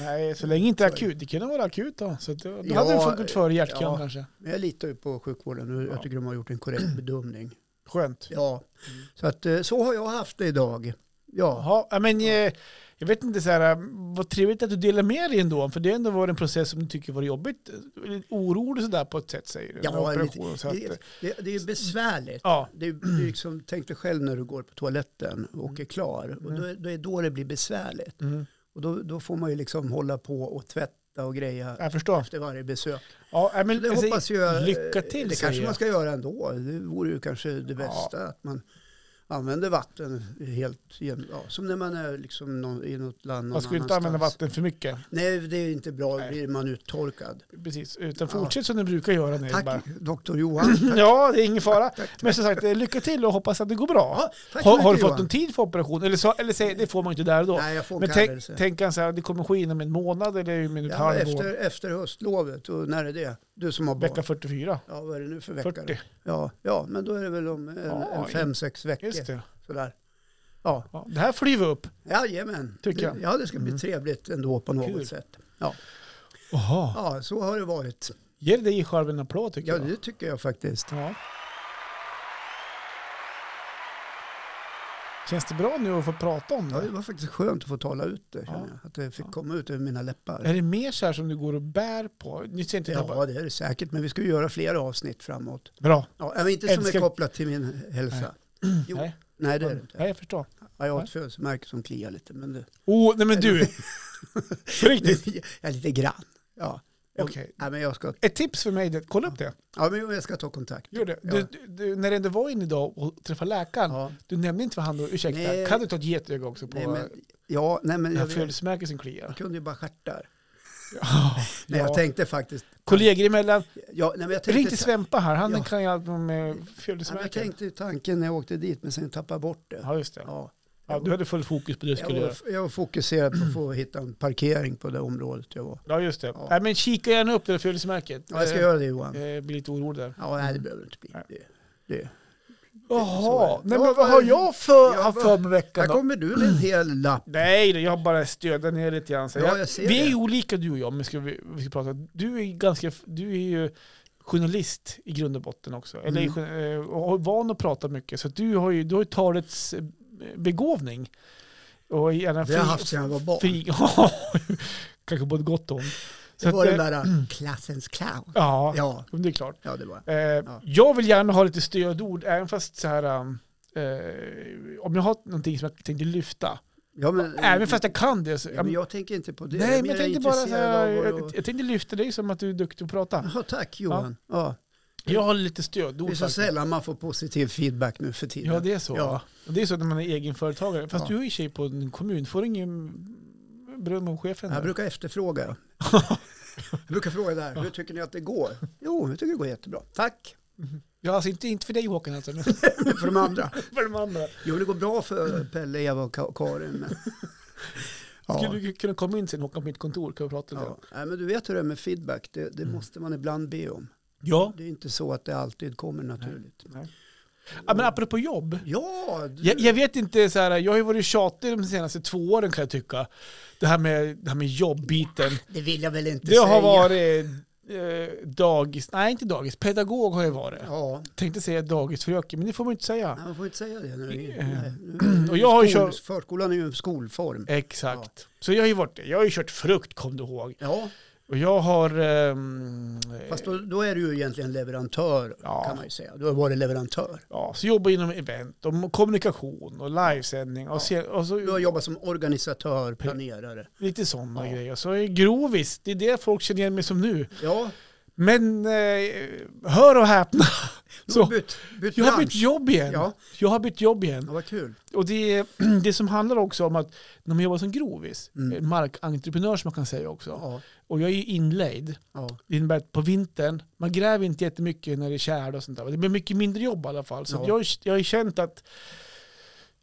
Nej, så länge inte akut. Det kunde vara akut då. Så att, då
Ja,
hade du fått gått före hjärtkön
ja.
kanske.
Men jag litar ju på sjukvården och
Ja.
jag tycker de har gjort en korrekt bedömning.
Skönt.
Ja,
Mm.
så att eh, så har jag haft det idag. Ja,
Jaha, ja, men eh, jag vet inte så här, eh, vad trevligt att du delar med dig ändå, för det har ändå varit en process som du tycker var jobbigt. Lite Orolig sådär på ett sätt säger du.
Ja,
med operation
lite-
och så att, eh,
det, det, det är ju besvärligt.
ja,
Det är, det är liksom, tänk dig själv när du går på toaletten och är klar. Och då, är- då är då det blir besvärligt.
mm,
Och då, då får man ju liksom hålla på och tvätta och greja
jag förstår.
efter varje besök.
Ja, nej, men,
Det
alltså,
hoppas jag, eh,
lycka till
Det
säger
kanske man
jag.
ska göra ändå. Det vore ju kanske det bästa. Att man använder vatten helt jämnt. Ja, som när man är liksom någon, i något land någon
Man skulle inte använda
annanstans.
vatten för mycket.
Nej, det är inte bra. Då
Nej.
blir man uttorkad.
Precis, utan
Ja.
fortsätt som du brukar göra nu.
Tack,
bara.
doktor Johan.
Ja, det är ingen fara.
tack.
Men som sagt, eh, lycka till och hoppas att det går bra.
Ja, tack så
Har,
mycket,
har du fått
Johan.
någon tid för operation? Eller, så, eller säg, det får man ju inte där och då.
Nej, jag får
Men tänk,
kallelse.
tänk han så här, det kommer ske inom en månad eller inom ett
Ja,
halvår.
efter, efter höstlovet, och när är det? Du som har barn.
Vecka 44.
Ja, vad är det nu för vecka?
40.
Då? Ja, ja, men då är det väl om en,
Ja,
en fem, sex veckor.
Just det.
Sådär. Ja,
Ja, det här flyger vi upp.
jajamän.
Tycker jag.
Det- Ja, det ska bli
Mm.
trevligt ändå på något
Kul.
sätt. Ja.
Jaha.
ja, så har det varit.
Ge dig själv en applåd tycker
Ja,
jag.
det tycker jag faktiskt.
Ja. Känns det bra nu att få prata om
Ja, det
det?
var faktiskt skönt att få tala ut det, känner
Ja.
jag. Att det fick
Ja.
komma ut över mina läppar.
Är det mer så här som du går och bär på? Nu ser inte jag
Ja, det är det säkert, men vi ska ju göra fler avsnitt framåt.
Bra.
Ja, men inte som
Älskar-
är kopplat till min hälsa. Jo, nej.
Nej.
det är det inte.
Nej, jag förstår.
Ja, jag har
Nej.
ett födelsemärke som kliar lite, men det,
Oh, nej men du. På riktigt.
ja, lite grann. Ja.
Okej.
Ja, men jag ska,
Ett tips för mig, det, kolla upp det.
ja, men jag ska ta kontakt.
Gör det.
Ja.
Du, du, du, när du ändå var inne idag och träffade läkaren,
Ja,
du nämnde inte vad han då, ursäkta,
Nej.
kan du ta ett getöga också på
nej, men, ja, nej, men
det här
jag, vet,
födelsemärket som
jag
kliar?
kunde ju bara stjärtar.
Ja.
Nej, jag tänkte faktiskt...
Kollegor emellan,
Ja, nej, men jag
Ring till
tänkte,
Svempa här, han
Ja.
kan ju allt med
ja, men jag
födelsemärken.
tänkte ju tanken när jag åkte dit, men sen tappade jag bort det.
Ja, just det.
Ja.
Ja, du hade fullt fokus på det du
Jag,
skulle göra.
var, jag var fokuserad på att få hitta en parkering på det området jag var.
Ja, just det.
Ja.
Nej, men kika gärna upp det där födelsemärket.
Ja, jag ska göra det Johan.
Jag blir lite orolig där.
Ja, nej, det behöver inte bli.
Eh, Nej.
Det, det. Så är
Jaha,
det.
nej,
Ja,
men vad
vad-
har jag för,
Ja,
haft
vad-
för mig veckan
Här
då?
kommer du med en hel lapp.
Nej, då, jag har bara stödat ner lite grann. Så
Ja,
jag,
jag ser
vi är
det.
ju olika du och jag, men ska vi, vi ska prata. Du är, ju ganska, du är ju journalist i grund och botten också. Eller
Mm.
jour- eh, och har van att prata mycket. Så att du har ju, du har ju talets eh, begåvning. Och gärna
Det har jag
fri-
haft sedan jag var barn.
Fri, ja, kanske både gott och ont. Så
Det
att,
var den
eh,
där klassens clown.
ja,
Ja,
men det är klart.
ja det var
Eh, Jag vill gärna ha lite stödord, även fast så här, um, eh, om jag har någonting som jag tänkte lyfta,
ja, men,
även fast jag kan det. Så,
Eh, ja, men jag tänker inte på det.
nej, men jag tänkte bara så här,
Och,
jag, jag tänkte lyfta dig som att du är duktig att prata.
Jaha, tack Johan. Ja.
Jag har lite
Det
stödord
är så
faktiskt.
sällan man får positiv feedback nu för tiden.
Ja, det är så.
Ja.
Och Det är så när man är egenföretagare. Fast
Ja.
du är ju tjej på en kommun, får ingen beröm av chefen?
Jag
där?
brukar efterfråga. jag brukar fråga där, hur tycker ni att det går? Jo, jag tycker det går jättebra. Tack
Ja, alltså inte, inte för dig Håkan, alltså, men
för de andra.
för de andra.
Jo, det går bra för Pelle, Eva och Ka- Karin. Men... Ja.
Skulle du kunna komma in sen Håkan på mitt kontor? Kan vi prata lite?
Ja. Nej, men du vet hur det är med feedback, det, det måste man ibland be om.
Mm. Ja.
Det är inte så att det alltid kommer naturligt.
ja. Men apropå jobb.
Ja, du...
Jag, jag vet inte, så här, jag har ju varit tjatig de senaste två åren kan jag tycka. Det här med, det här med jobbbiten.
det vill jag väl inte
Det har varit eh, dagis, nej inte dagis, pedagog har jag varit.
Ja,
Tänkte säga dagisfröken, men det får man ju inte säga.
nej, man får inte säga det. Nu.
Eh,
Nej, nu-
och jag har ju
skol-
kört-
Förskolan är ju en skolform.
Exakt. Så jag har ju varit det. Jag har ju kört frukt, kom du ihåg.
Ja,
Och jag har... ehm, eh,
fast då, då är du ju egentligen leverantör
Ja.
kan man ju säga. Du har varit leverantör.
ja, så jobbar inom event och kommunikation och livesändning och, se, och så
Du har jobbat som organisatör, planerare.
Lite sådana
Ja.
grejer. Så är grovis, det är det folk känner igen mig som nu.
Ja,
Men eh, hör och häpna.
Du har
Så,
bytt, bytt
jag har bytt
bransch.
jobb igen.
Ja.
Jag har bytt jobb igen.
Ja, vad kul.
Och det, är- det som handlar också om att när man jobbar som grovis,
Mm.
markentreprenör som man kan säga också,
Ja,
och jag är ju inlejd,
ja,
det innebär att på vintern, man gräver inte jättemycket när det är tjäle och sånt där. Det blir mycket mindre jobb i alla fall. Så
Ja.
jag, har- jag har ju känt att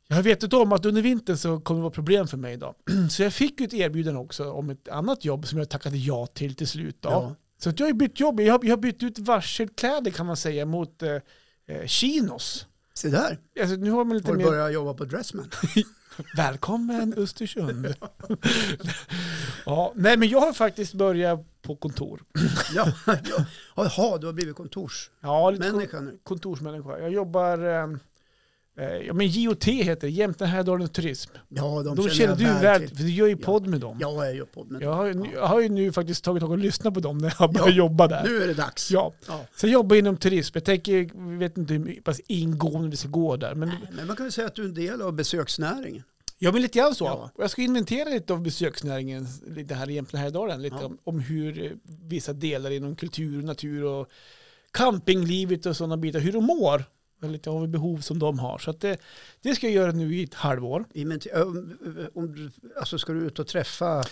jag har vetat om att under vintern så kommer det vara problem för mig idag. Så jag fick ju ett erbjudande också om ett annat jobb som jag tackade ja till till slut. Då.
ja.
Så att jag har ju bytt jobb. Jag har, jag har bytt ut varselkläder kan man säga mot eh, eh, chinos.
Se där,
Alltså, nu har man lite
har du
mer...
börjat jobba på Dressman.
Välkommen Östersund. ja, nej men jag har faktiskt börjat på kontor.
ja, ja. Jaha, du har blivit kontorsmänniska
Ja, lite kon-
nu.
kontorsmänniska. Jag jobbar, eh, eh, ja men JOT heter det, Jämtland Härjedalen och Turism.
Ja, de,
De, känner du
jag
väl,
till.
för du gör ju
Ja.
podd med dem.
Ja, jag gör podd med
Jag,
dem.
har, ju nu- jag har ju nu faktiskt tagit tag och lyssnat på dem när jag började jobba där.
Nu är det dags.
Ja.
Ja.
Sen jobbar jag inom turism. Jag tänker, jag vet inte hur my- pass ingående det ska gå där. Men
Men man kan väl säga att du är en del av besöksnäringen.
jag vill lite grann så.
Ja.
Och jag ska inventera lite av besöksnäringen, lite här i Jämtland Härjedalen. Lite
Ja.
om, om hur eh, vissa delar inom kultur, natur och campinglivet och sådana bitar, hur de mår. Och Lite av behov som de har. Så att det, det ska jag göra nu i ett halvår.
I men- om, om, du- alltså ska du ut och träffa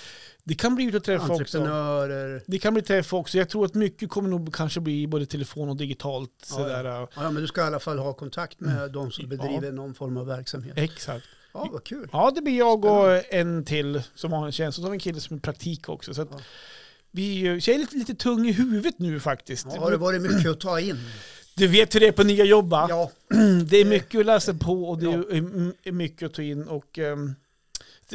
Det kan bli ut och träffa också.
entreprenörer?
Det kan bli träff också. Jag tror att mycket kommer nog kanske bli både telefon och digitalt.
Ja,
sådär.
Ja, men du ska i alla fall ha kontakt med
Mm.
de som bedriver någon form av verksamhet.
Exakt.
Ja, vad kul.
Ja, det blir jag och en till som har en tjänst. Och så har vi en kille som är praktik också. Så att
Ja.
vi är ju- jag är lite, lite tung i huvudet nu faktiskt.
Ja, har det varit mycket att ta in?
Du vet hur det är på nya jobb va?
Ja,
Det är mycket att läsa på och det är mm, är mycket att ta in. Och, ehm,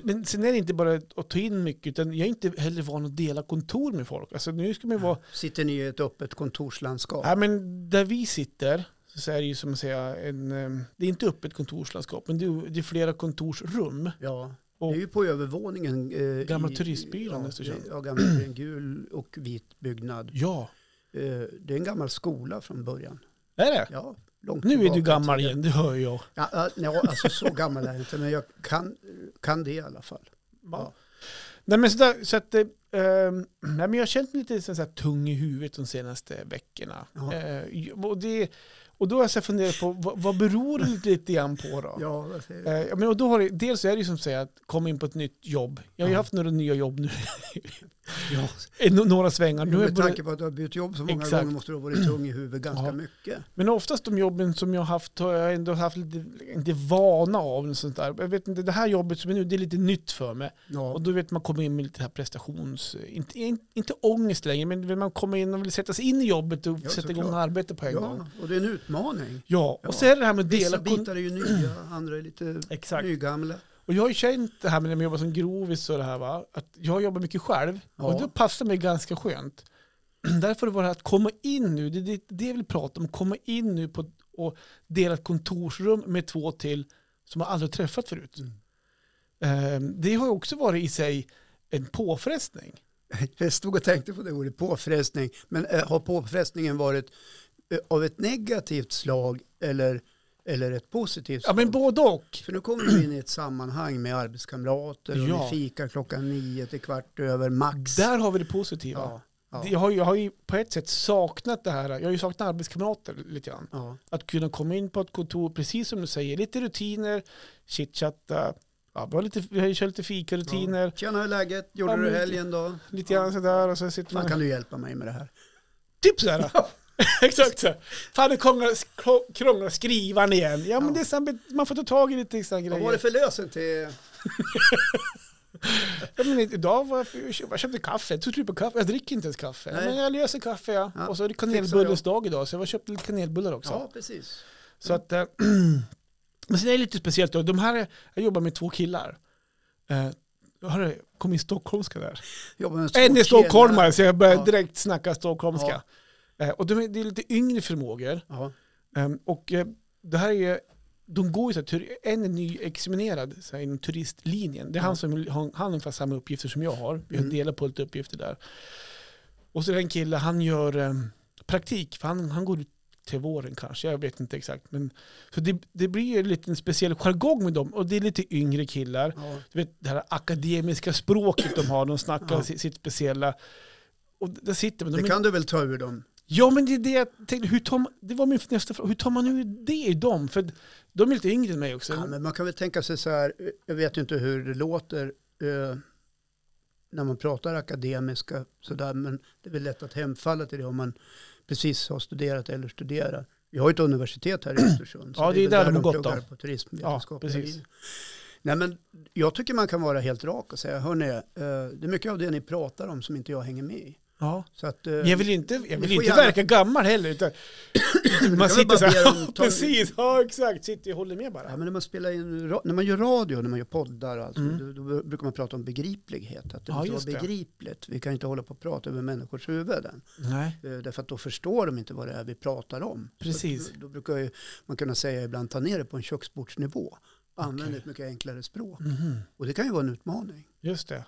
men sen är det inte bara att ta in mycket, utan jag är inte heller van att dela kontor med folk. Alltså nu ska man ju vara
sitter ni i ett öppet kontorslandskap?
Ja, men där vi sitter så är det ju som att säga, en, eh, det är inte öppet kontorslandskap, men det är, det är flera kontorsrum.
Ja,
Och-
det är ju på övervåningen. Eh,
Gamla
i-
turistbyrån i Östersund.
Ja, gamla det är en gul och vit byggnad.
Ja,
Eh, det är en gammal skola från början.
är det?
Ja, långt
Nu är
tillbaka
du
i
gammal
tiden.
igen, det hör jag.
Ja, ja, nej, alltså så gammal är jag inte, men jag kan, kan det i alla fall.
Ja. Nej, men sådär, så att, eh, ehm, nej, men jag har känt mig lite så här tung i huvudet de senaste veckorna.
Ja.
Eh, och, det, och då har jag så här funderat på vad, vad beror det lite grann på då?
Ja, vad säger du?
Eh, ja, men och då har det, dels är det ju som att säga att komma in på ett nytt jobb. Jag har ju
Ja.
haft några nya jobb nu,
Ja.
eh, no- några svängar. Nu har jag
Med
börjat-
tanke på att du har bytt jobb så många
Exakt.
gånger måste du ha varit tung i huvudet ganska
Ja.
mycket.
Men oftast de jobben som jag har haft har jag ändå haft lite, inte vana av. Och sånt där. Jag vet inte, det här jobbet som är nu, det är lite nytt för mig.
Ja,
Och då vet man kommer in med lite här prestations, inte, in- inte ångest längre, men man kommer in och vill sätta sig in i jobbet och
Ja,
sätta
såklart.
igång arbete på en gång.
ja, och det är en utmaning.
Ja,
Ja.
och så är det det här med att
Vissa
dela kon-
bitar är ju nya, andra är lite
Exakt.
nygamla.
Och jag har ju känt det här med när man jobbar som grovis och det här va, att jag jobbar mycket själv
Ja.
och det passar mig ganska skönt. Därför var det här att komma in nu, det är det, det jag vill prata om, komma in nu på, och dela ett kontorsrum med två till som jag aldrig har träffat förut.
Mm.
Ehm, Det har ju också varit i sig en påfrestning.
Jag stod och tänkte på det ordet, påfrestning. Men eh, har påfrestningen varit eh, av ett negativt slag eller, eller ett positivt
Ja
slag?
men både och.
För nu kommer du in i ett sammanhang med arbetskamrater och
Ja.
ni fikar klockan nio till kvart över max.
Där har vi det positiva.
ja, ja,
Det- Jag, har, ju- jag har ju på ett sätt saknat det här, jag har ju saknat arbetskamrater lite grann.
ja,
Att kunna komma in på ett kontor, precis som du säger, lite rutiner, chitchatta, ja, vi har lite, vi har ju kört lite fikarutiner,
ja. Tjena, hur är läget? Gjorde
Ja,
du
men-
helgen då?
lite grann sådär och så sitter
Fan,
man...
kan du hjälpa mig med det här?
Typ sådär! Exakt så. Fan, nu krånglar- krånglar skrivan igen. Ja, men
Ja.
det är samma, man får ta tag i lite sådana
Vad
grejer.
var det för lösen till...
ja, men idag var jag, jag köpte kaffe, jag tog slut på kaffe, jag dricker inte ens kaffe. Ja,
Nej.
men jag löser kaffe ja.
Ja,
Och så är det
fixar
kanelbullens dag idag, så jag var och köpte lite kanelbullar också.
Ja, precis.
Så att, eh, men sen är det lite speciellt då. De här, jag jobbar med två killar. Eh, hörru, kom in stockholmska där.
Jobbar med
En alltså.
två
är stockholmare
killar.
så jag börjar
Ja.
direkt snacka stockholmska. Eh, och de är, det är lite yngre förmågor.
Ja,
Eh, och eh, det här är ju, de går ju så här, tur- en är nyexaminerad så här, inom turistlinjen. Det är han som har han har ungefär samma uppgifter som jag har. Vi
Mm.
delar på lite uppgifter där. Och så är det en kille, han gör eh, praktik, för han, han går ut till våren kanske, jag vet inte exakt. Men, så det, det blir ju lite en speciell jargong med dem och det är lite yngre killar.
ja.
Du vet, det här akademiska språket de har, de snackar
Ja.
sitt, sitt speciella. Och där sitter man. De
Det
är-
kan du väl ta ur dem?
Ja, men det är det jag tänkte. Hur tar man, det var min nästa fråga. Hur tar man ur det i dem? För de är lite yngre än mig också.
Ja, men man kan väl tänka sig så här, eh, jag vet inte hur det låter eh, när man pratar akademiska sådär, men det är väl lätt att hemfalla till det om man precis har studerat eller studerar. Vi har ju ett universitet här i Östersund. så
Ja, det är
väl
där de har gått
pluggar
av.
på turismvetenskapliga
Ja, precis.
linjen. Nej, men jag tycker man kan vara helt rak och säga, hörni, eh, det är mycket av det ni pratar om som inte jag hänger med i.
ja.
Så att, eh,
Men Jag vill inte, jag
Ni
vill
får
inte
gärna-
verka gammal heller. Utan man
kan väl
sitter
bara
så här,
be dem
ja,
ta-
precis, ja exakt, sitter och håller med bara.
Ja, men när, man spelar in, ra- när man gör radio, när man gör poddar och allt,
Mm.
då, då brukar man prata om begriplighet. Att det
Ja, just
måste
det.
vara begripligt. Vi kan inte hålla på och prata över människors huvuden.
Nej,
Eh, Därför att då förstår de inte vad det är vi pratar om. Så
Precis.
att Då, då brukar ju, man kunna säga ibland ta ner det på en köksbordsnivå. Använd
Okej.
ett mycket enklare språk.
Mhm.
Och det kan ju vara en utmaning.
just det.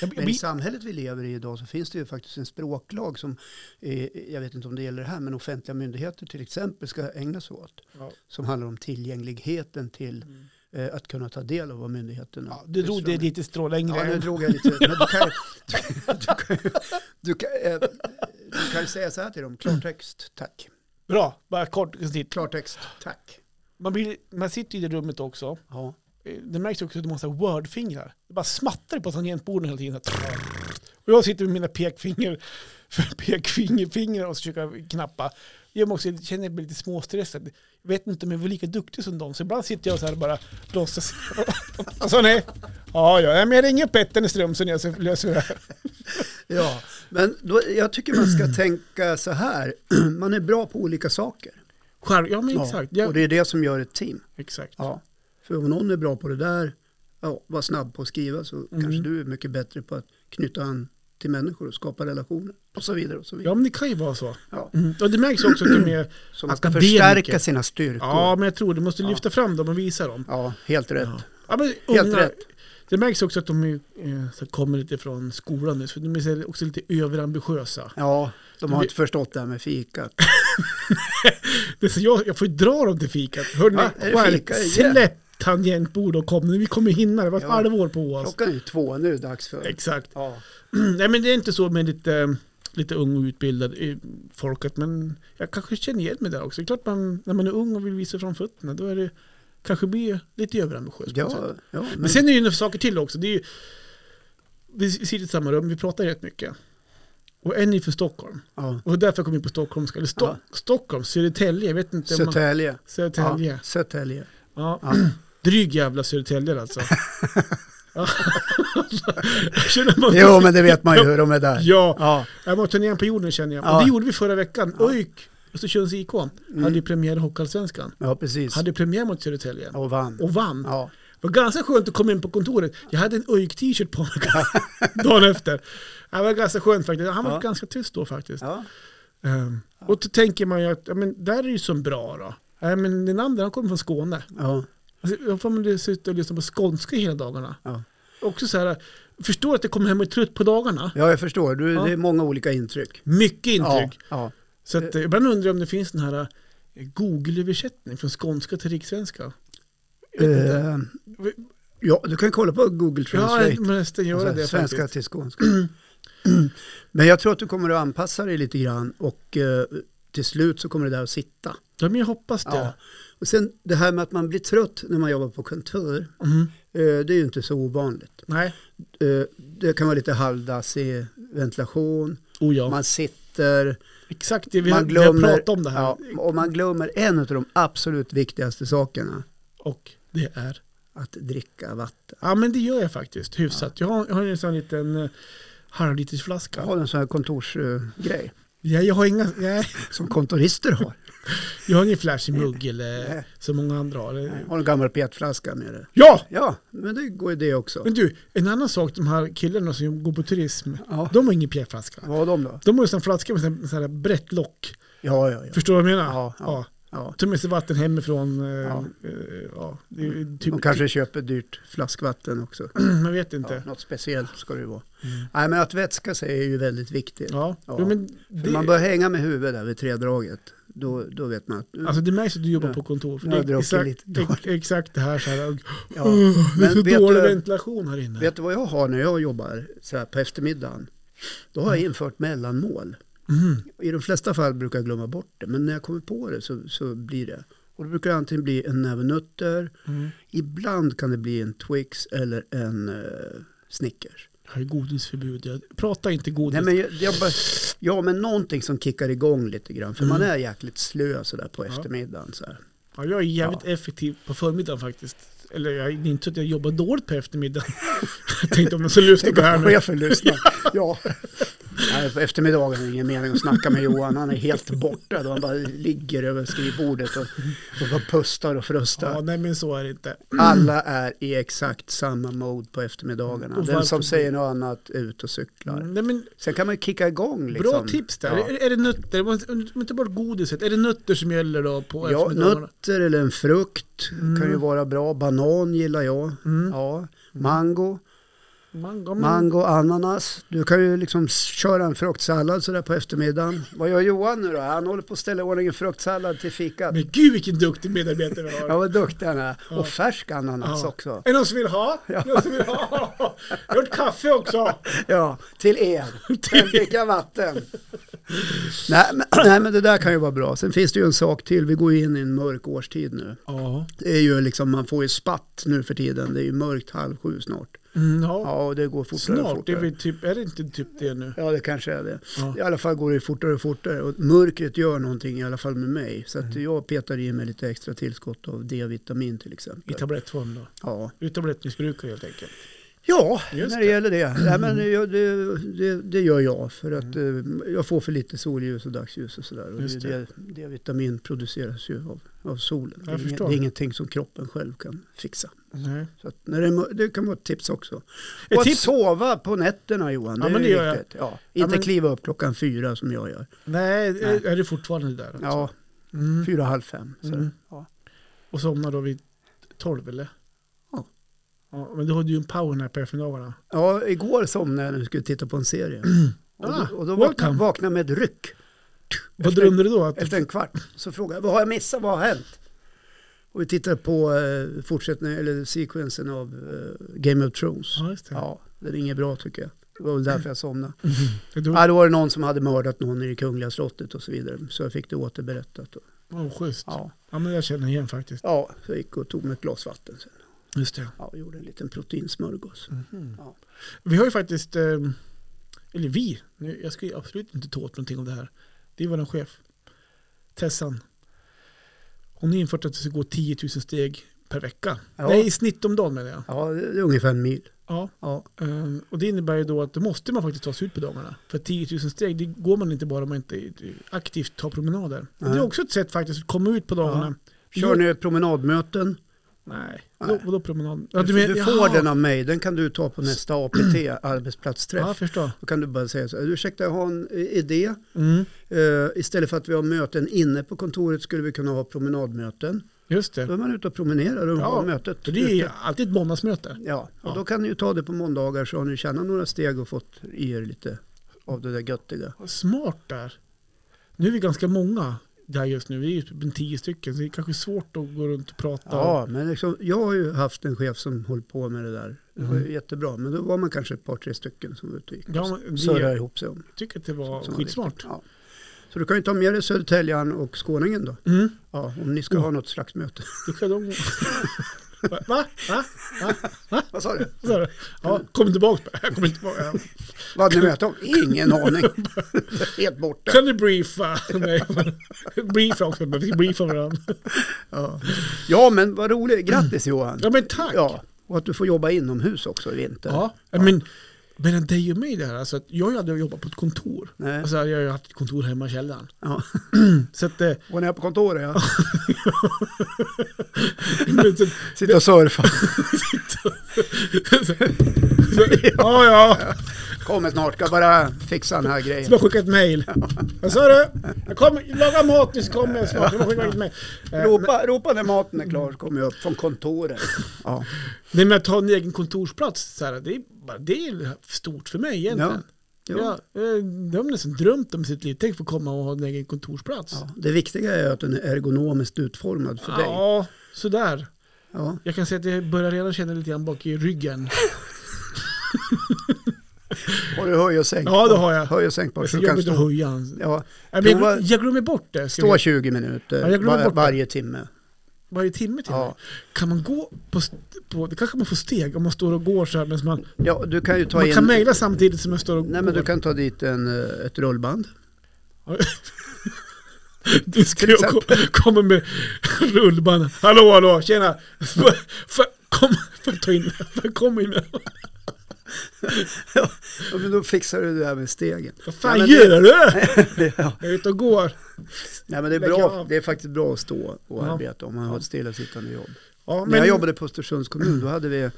Jag,
Men
jag,
i samhället vi lever i idag så finns det ju faktiskt en språklag som, eh, jag vet inte om det gäller här, men offentliga myndigheter till exempel ska ägna sig åt.
ja.
Som handlar om tillgängligheten till eh, att kunna ta del av vad myndigheterna
Ja, du drog
sysslar
det
med.
lite strå längre.
Ja, nu
än-
drog jag lite. Men du kan, du, du kan, du kan, eh, du kan säga så här till dem, klartext, tack.
Bra, bara kort. snitt.
Klartext, tack.
Man, blir, man sitter i det rummet också.
Ja,
Eh, Det märks också att de har så här wordfingrar. Det bara smattrar på tangentborden hela tiden. så här. Och jag sitter med mina pekfinger, pekfingerfingrar och så försöker knappa. Jag mår också, känner mig lite småstressad. Jag vet inte om jag var lika duktig som dem. Så ibland sitter jag så här och bara låtsas. Och så nej. Ja, ja, men jag ringer Petter Ström så jag så löser vi det här.
ja. men då, jag tycker man ska tänka så här, man är bra på olika saker.
Själv, ja, men exakt.
Ja,
Ja,
och det är det som gör ett team.
exakt.
Ja. För om någon är bra på det där, ja, var snabb på att skriva så
Mm.
kanske du är mycket bättre på att knyta an till människor och skapa relationer och så vidare. Och så vidare.
Ja, men det kan ju vara så.
Ja.
Mm. Och det märks också att de är
Så man ska
akademiker.
förstärka sina styrkor.
Ja,
Ja,
men jag tror du måste lyfta fram dem och visa dem.
helt rätt.
Ja, men
Helt
unga,
rätt.
Det märks också att de är, eh, så kommer lite från skolan nu, så de är så- också lite överambitiösa.
Ja, de
Vi-
har inte förstått det här med fikat.
Det är så jag, jag får ju dra dem till fikat. Hörni,
Ja, är det
själv,
fika igen?
släpp tangentbord och kom nu. Vi kommer hinna det. var ett
Ja.
halvår på oss.
Klockan är ju två, nu är det dags för...
Exakt.
Ja.
Nej, men det är inte så med lite, lite ung och utbildad eh, folk, att man, jag kanske känner igen mig där också. Det är klart man, när man är ung och vill visa fram fötterna, då är det kanske blir lite överambitiös. på något sätt.
Ja, ja,
Men
men
sen är det ju några saker till också. Det är ju, vi sitter i samma rum, vi pratar rätt mycket. Och en är från Stockholm.
ja.
Och därför kom jag in på stockholmska. Eller Sto-
Ja.
Stockholm, Södertälje, jag vet inte. om man-
Södertälje. Ja,
Södertälje.
Södertälje.
Ja.
Ja.
Dryg jävla Södertälje alltså. ja. Känner man-
Jo, men det vet man ju hur de är där.
Ja,
Ja,
jag måste ner på jorden känner jag.
Ja.
Och det gjorde vi förra veckan.
Ja.
ÖIK, Östersunds IK, hade ju premiär i Hockeyallsvenskan.
Mm. ja precis.
Hade premiär mot Södertälje.
Och vann.
Och vann.
Ja.
Det var ganska skönt att komma in på kontoret. Jag hade en ÖIK-t-shirt på mig dagen efter. Det var ganska skönt faktiskt. Han var
Ja.
ganska tyst då faktiskt.
Ja.
Ehm, Och då tänker man ju att, ja, men där är ju som bra då. Nej, men den andra han kommer från Skåne.
Ja.
Alltså, då får man ju sitta och lyssna på skånska hela dagarna.
Ja.
Också så här, förstår att jag kommer hem och är trött på dagarna.
ja, jag förstår. Du,
Ja.
Det är många olika intryck.
Mycket
Ja,
intryck.
ja.
Så att, eh, ibland undrar jag om det finns den här eh, Google-översättning från skånska till rikssvenska. Jag vet inte.
Eh, ja, du kan kolla på Google
Ja,
Translate.
jag måste göra
Alltså,
det
svenska
faktiskt.
till skånska. Men jag tror att du kommer att anpassa dig lite grann och eh, till slut så kommer det där att sitta.
Ja, men jag hoppas det.
Ja. Och sen det här med att man blir trött när man jobbar på kontor,
Mm.
eh, det är ju inte så ovanligt.
Nej.
Eh, det kan vara lite halvdassig ventilation,
Oh ja.
man sitter,
Exakt det vi,
man
vi har
glömmer,
pratat om det här.
Ja, och man glömmer en av de absolut viktigaste sakerna,
Och det är...
att dricka vatten.
Ja men det gör jag faktiskt hyfsat. Jag, har, jag har en sån liten eh, halvlitersflaska.
Jag har en sån här kontorsgrej
Jag, jag, har inga, nej,
som kontorister har.
jag har ingen flashig mugg eller
Nej.
som många andra har.
Jag har en gammal petflaska med det.
Ja!
Ja, men det går ju det också.
Men du, en annan sak, de här killarna som går på turism,
Ja.
de har ingen pjäflaska.
Vad har de då?
De har ju en flaska med sån- sån här brett lock.
Ja, ja, ja.
Förstår du vad jag menar?
Ja, ja. ja.
Tar med sig vatten hemifrån. eh,
Ja.
eh, ja, det är ju typ,
De kanske köper dyrt flaskvatten också.
man vet
Ja,
inte.
något speciellt ska det ju vara. Nej, men att vätska sig är ju väldigt viktigt.
Ja.
Ja.
Jo, men
För
det,
man bör hänga med huvudet där vid tredraget. Då, då vet man att...
Alltså det märks att du jobbar
Ja.
på kontor. För
Nu
det
har jag
är
druckit
exakt,
lite dåligt.
ex- exakt det här. Så här
ja.
"Åh, uh, det är
Men
så
vet
dålig
du-
ventilation här inne.
Vet du vad jag har när jag jobbar så här på eftermiddagen? Då har jag infört mellanmål.
Mm.
I de flesta fall brukar jag glömma bort det, men när jag kommer på det så, så blir det. Och då brukar det antingen bli en näve nötter,
Mm.
ibland kan det bli en Twix eller en eh, Snickers.
Jag har ju godisförbud. Jag pratar inte godis.
Nej, men jag, jag bara, ja, men någonting som kickar igång lite grann, för
Mm.
man är jäkligt slö sådär på
Ja.
eftermiddagen. Så här.
ja, jag är jävligt effektiv på förmiddagen faktiskt. Eller jag, det är inte så att jag jobbar dåligt på eftermiddagen. jag tänkte om jag skulle lyssna
Tänk
på det här
om
nu.
chefen lyssnar. ja. Nej, på eftermiddagen är det ingen mening att snacka med Johan, han är helt borta då. Han bara ligger över skrivbordet och, och bara pustar och frustar.
Ja, nej men så är det inte.
Alla är i exakt samma mode på eftermiddagarna.
Och
Den som
varför-
säger något annat är ute och cyklar.
Nej, men
Sen kan man ju kicka igång liksom.
Bra tips där.
Ja.
Är, är det nötter, om inte bara godiset, är det nötter som gäller då på
Ja,
eftermiddagarna?
nötter eller en frukt kan ju
Mm.
vara bra. Banan gillar jag.
Mm.
Ja, mango,
Mango, men-
mango, ananas. Du kan ju liksom s- köra en fruktsallad sådär på eftermiddagen. Vad gör Johan nu då? Han håller på att ställa i ordning en fruktsallad till fikat.
Men gud vilken duktig medarbetare vi har.
Ja, vad duktig han är.
Ja.
Och färsk ananas
Ja.
också.
Är det någon som vill ha?
Ja.
Någon som vill ha? Jag har gjort kaffe också.
Ja, till er. Fem drickar vatten. nej, men, nej, men det där kan ju vara bra. Sen finns det ju en sak till. Vi går ju in i en mörk årstid nu.
Ja.
Det är ju liksom, man får ju spatt nu för tiden. Det är ju mörkt halv sju snart.
Mm, ja.
Ja, och det går fortare och
Snart, det
fortare.
är, väl typ, är det inte typ det nu?
Ja, det kanske är det.
Ja.
I alla fall går det fortare och fortare. Och mörkret gör någonting i alla fall med mig. Så
Mm.
att jag petar i mig lite extra tillskott av D-vitamin till
I
exempel.
tablettform då?
Ja,
Du är tablettmissbrukare helt enkelt?
ja
Just
när
det. Mm.
det gäller det. Nej, men jag, det, det. Det gör jag för att eh, jag får för lite solljus och dagsljus och sådär. Och
Just
det. är ju det- D-vitamin produceras ju av, av solen. Det
Jag
är, inget, det
förstår.
är ingenting som kroppen själv kan fixa.
Nej.
Så att när det, är mör- det kan vara ett tips också.
Ett
Och att
tips-
sova på nätterna Johan, det
Ja, men
är
det
ju
gör jag.
viktigt. Ja.
Ja,
Inte
men-
kliva upp klockan fyra som jag gör.
Nej,
Nej.
är det fortfarande där? alltså?
Ja,
Mm.
fyra, halv fem. Så.
Mm.
Ja.
Och somnar då vid tolv eller?
Ja.
ja. Men då har du ju en powernap på eftermiddagarna.
ja, igår somnade jag när vi skulle titta på en serie. Och
Ah,
då, och då
welcome.
vaknade, vaknade jag med ett ryck
Vad
Efter-
drömde du då? Att
efter en kvart. Så frågade jag, vad har jag missat, vad har hänt? Och vi tittade på eh, fortsättningen, eller sekvensen av eh, Game of Thrones.
Ja, just det.
Ja, den är inget bra tycker jag. Det var väl därför jag somnade.
Det
Ja, då var det någon som hade mördat någon i det kungliga slottet och så vidare. Så jag fick det återberättat. Och,
var schysst. Ja.
ja.
men jag känner igen faktiskt.
ja, så jag gick och tog mig ett glas vatten sen.
Just det.
Ja, gjorde en liten proteinsmörgås. Ja.
Mhm. Vi har ju faktiskt, eh, eller vi, nu, jag ska ju absolut inte ta åt någonting om det här. Det är vår chef, Tessan. Hon har infört att du ska gå 10 000 steg per vecka.
Ja.
Nej, i snitt om dagen menar jag.
Ja, det är ungefär en mil.
Ja,
Ja.
eh, och det innebär ju då att då måste man faktiskt ta sig ut på dagarna. För 10 000 steg, det går man inte bara om man inte aktivt tar promenader. Det är
Nej.
också ett sätt faktiskt att komma ut på dagarna.
Kör ni promenadmöten?
Nej,
Nej.
Vadå- vadå promenad?
Du,
menar-
du får
Jaha.
den av mig, den kan du ta på nästa APT, arbetsplatsträff.
Ja, jag förstår.
Då kan du bara säga så här, ursäkta jag har en eh, idé.
Mm.
Eh, istället för att vi har möten inne på kontoret skulle vi kunna ha promenadmöten.
Just
Då
det.
är man ute och promenerar och har
Ja,
mötet.
För det är ju alltid ett månadsmöte.
Ja, och
Ja.
då kan ni ju ta det på måndagar så har ni tjänat några steg och fått i er lite av det där göttiga.
Vad Smart där. Nu är vi ganska många där just nu. Vi är ju typ tio stycken. Så det är kanske svårt att gå runt och prata.
Ja, men liksom, jag har ju haft en chef som höll på med det där. Det var ju jättebra, men då var man kanske ett par, tre stycken som var ute och gick
Mm. Ja,
och
men det-
surrade ihop sig om.
Jag tycker att det var
som var
skitsmart.
viktigt. Ja. Så du kan ju ta med dig Södertäljan och Skåningen då,
Mm.
ja, om ni ska
Ja.
ha något slags möte.
Då kan de... Va? Va? Va?
Vad sa du?
Så här, Ja, kom tillbaka. Jag kommer inte tillbaka.
Vad hade ni möte om? Ingen aning. Helt borta.
Kan du briefa mig? briefa också. men Vi ska briefa varandra.
Ja. ja, men vad roligt. Grattis Johan.
Mm. Ja, men tack.
Ja, och att du får jobba inomhus också i vinter.
Ja, men mellan dig och mig där. Alltså, att jag hade jobbat på ett kontor.
Nej.
Alltså, jag har ju haft ett kontor hemma i källaren.
Ja.
Så att, eh,
Och när jag är på kontoret, ja.
men så,
Sitta och surfa.
så, ja, ja.
Kommer snart, ska bara fixa den här grejen.
Som har skickat mejl. Vad sa du? Jag kommer, laga mat nu så kommer jag snart. Jag har skickat ett mejl. Eh,
Ropa, ropa när maten är klar så kommer jag upp från kontoret. Ja.
Nej men att ha en egen kontorsplats, så här, det, är bara, det är stort för mig egentligen. Ja.
Ja.
eh, de har nästan drömt om sitt liv. Tänk få komma och ha en egen kontorsplats.
Ja. Det viktiga är att den är ergonomiskt utformad för dig.
ja sådär.
Ja.
Jag kan säga att jag börjar redan känna lite grann bak i ryggen.
Har du höj och sänk?
Ja, det har jag.
Höj och sänk bara.
Det
så
är
du kan
jobbigt att
stå.
höja. hans-
Ja,
Jag, men jag,
Prova-
glöm- jag glömmer bort det. ska
stå
vi-
20
Ja,
minuter
jag glömmer
var,
bort det.
varje timme.
Varje timme till
Ja.
mig. Kan man gå på, st- på... Det kanske man får steg om man står och går så här. Men man,
Ja, du kan ju ta
man
in...
kan mejla samtidigt som jag står och
Nej,
går.
men du kan ta dit en, eh, ett rullband.
Du ska ju kom, komma med rullband. Hallå, hallå, tjena. Får- får- Kom, får jag ta in, får jag komma in?
Ja, men då fixar du det här med stegen.
Vad fan
Nej, men det-
gör du?
ja.
Jag är ute och går.
Nej, men det, är
Lägg
bra,
av.
det är faktiskt bra att stå och
Ja.
arbeta om man har ett stillasittande jobb.
Ja,
När jag jobbade på Östersunds kommun då hade vi,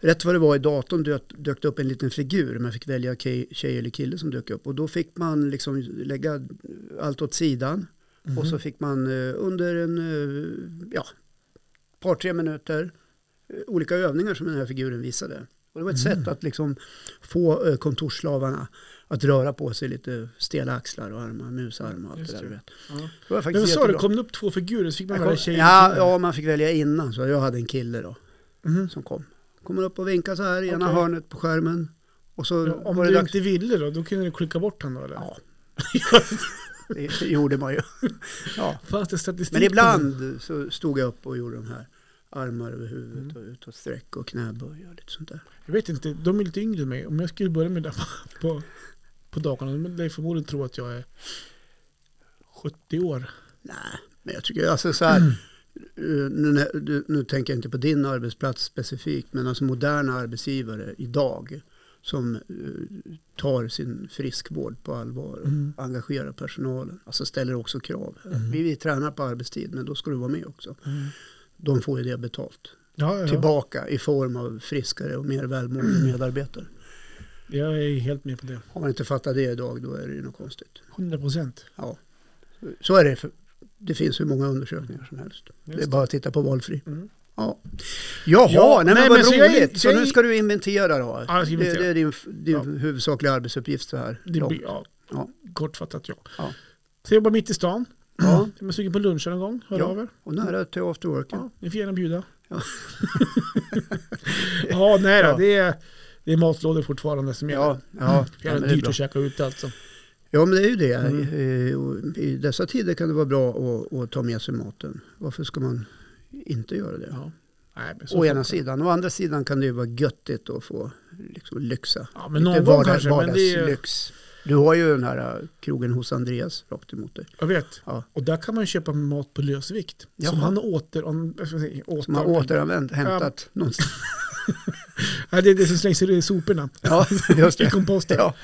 rätt vad det var i datorn dök, dök det upp en liten figur. Man fick välja ke- tjej eller kille som dök upp. Och då fick man liksom lägga allt åt sidan.
Mhm.
Och så fick man eh, under en, eh, ja, par tre minuter eh, olika övningar som den här figuren visade. Och det var ett
Mm.
sätt att liksom få eh, kontorsslavarna att röra på sig lite stela axlar och armar, musarmar och allt
Just
det där.
det.
du vet.
Ja.
Det var
Men
faktiskt
vad sa du,
jättebra.
kom det upp två figurer så fick man
Jag
välja
kom-
tjej och
Ja,
kille?
ja, man fick välja innan. Så jag hade en kille då
Mhm.
som kom. Kommer upp och vinkar så här i ena
Okej.
hörnet på skärmen. Och så
Ja, Om
var det
du
dags.
inte ville då, då kunde du klicka bort honom då eller?
Ja. Det gjorde man ju. Ja.
Fanns det statistik?
Men
på
ibland så stod jag upp och gjorde de här armar över
Mm.
huvudet och utåt sträck och knäböj och lite sånt där.
det? Jag vet inte, de är lite yngre än mig. Om jag skulle börja med det på- på, på dagarna, de lär förmodligen tro att jag är 70 år.
Nej, men jag tycker alltså så här. eh, Nu, när- du- nu tänker jag inte på din arbetsplats specifikt, men alltså moderna arbetsgivare idag som eh, tar sin friskvård på allvar och
Mm.
engagerar personalen. Alltså ställer också krav.
Mm.
Vi, vi tränar på arbetstid, men då ska du vara med också. De får ju det betalt.
Ja, Mm. ja, ja.
Tillbaka i form av friskare och mer välmående medarbetare.
Jag är helt med på det.
Har man inte fattat det idag, då är det ju något konstigt.
100 procent.
Ja. Så är det. För det finns hur många undersökningar som helst. Det är bara att titta på valfri.
Mm.
Ja. Jaha,
Ja,
nej,
nej,
men vad
men så jag-
roligt. Så
jag-
nu ska du inventera då?
jag ska inventera.
Det, det är din, din
Ja.
huvudsakliga arbetsuppgift så här.
Det
långt.
blir, ja,
Ja.
kortfattat ja.
Ja.
Så jag jobbar mitt i stan.
Ja.
Är man sugen på lunch någon gång, hör
Ja.
av er.
Och nära till after work.
Ja, ni får gärna bjuda. Ja,
Ja.
nej då,
Ja.
det, är, det är matlådor fortfarande som gäller.
Ja, ja,
Det
ja,
är
men det är
dyrt
bra.
att käka ute alltså.
ja, men det är ju det.
Mm.
Eh, och I dessa tider kan det vara bra att, att ta med sig maten. Varför ska man inte göra det?
Ja. Nej, men så
Å ena
funkar.
sidan. Å andra sidan kan det ju vara göttigt att få liksom, lyxa.
Ja, men någon
Lite
gång
vardag-
kanske. Men det är,
vardagslyx. Du har ju den här eh, krogen hos Andreas rakt emot dig.
jag vet.
Ja.
Och där kan man ju köpa mat på lösvikt. Som
Jaha.
han åter... Om, vad ska man säga, åter,
Som har återanvänt, hämtat någonstans.
Nej, det är det som slängs i soporna.
Ja, just
I
det.
komposten.
Ja.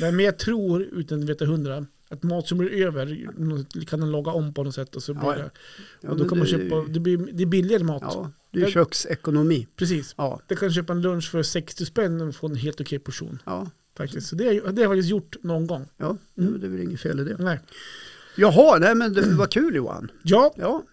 Men, men jag tror, utan att veta hundra, att mat som blir över kan den laga om på något sätt. Och så blir
Ja,
det,
Ja,
och då
men
kan man
det-
köpa, det blir, det är billigare mat.
Ja, det är ju köksekonomi.
Precis.
Ja,
Det kan köpa en lunch för 60 spänn och få en helt okej portion.
ja,
Faktiskt. Så det, har jag- det har jag faktiskt gjort någon gång.
ja.
Mm.
det är väl inget fel i det.
Nej.
Jaha, nej men det var kul Johan.
Ja,
Ja,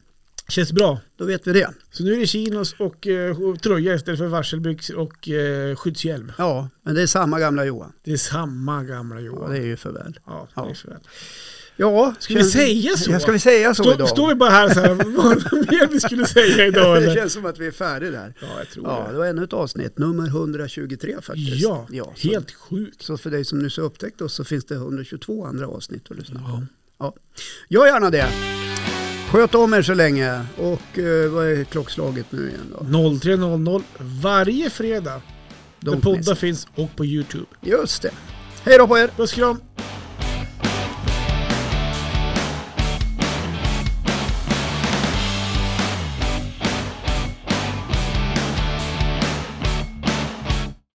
känns bra.
då vet vi det.
Så nu är det chinos och eh, och tröja istället för varselbyxor och eh, skyddshjälm.
Ja, men det är samma gamla Johan.
Det är samma gamla
Ja,
Johan.
det är ju för väl.
Ja, det
Ja.
är så väl.
Ja,
Ska vi säga så?
Ja, ska vi säga så
Stå,
idag?
står vi bara här så här, vad mer vi skulle säga idag
det
eller?
känns som att vi är färdiga där.
Ja, jag tror
Ja,
det.
det var ännu ett avsnitt, nummer 123 faktiskt.
Ja,
så,
helt sjukt.
Så för dig som nyss har upptäckt oss så finns det 122 andra avsnitt att lyssna på.
Ja.
Ja, gör gärna det. Sköt om er så länge. Och eh, vad är klockslaget nu igen då?
03.00 varje fredag.
Don't
Där
miss
poddar
it.
finns och på YouTube.
Just det. Hej då på er!
Puss kram!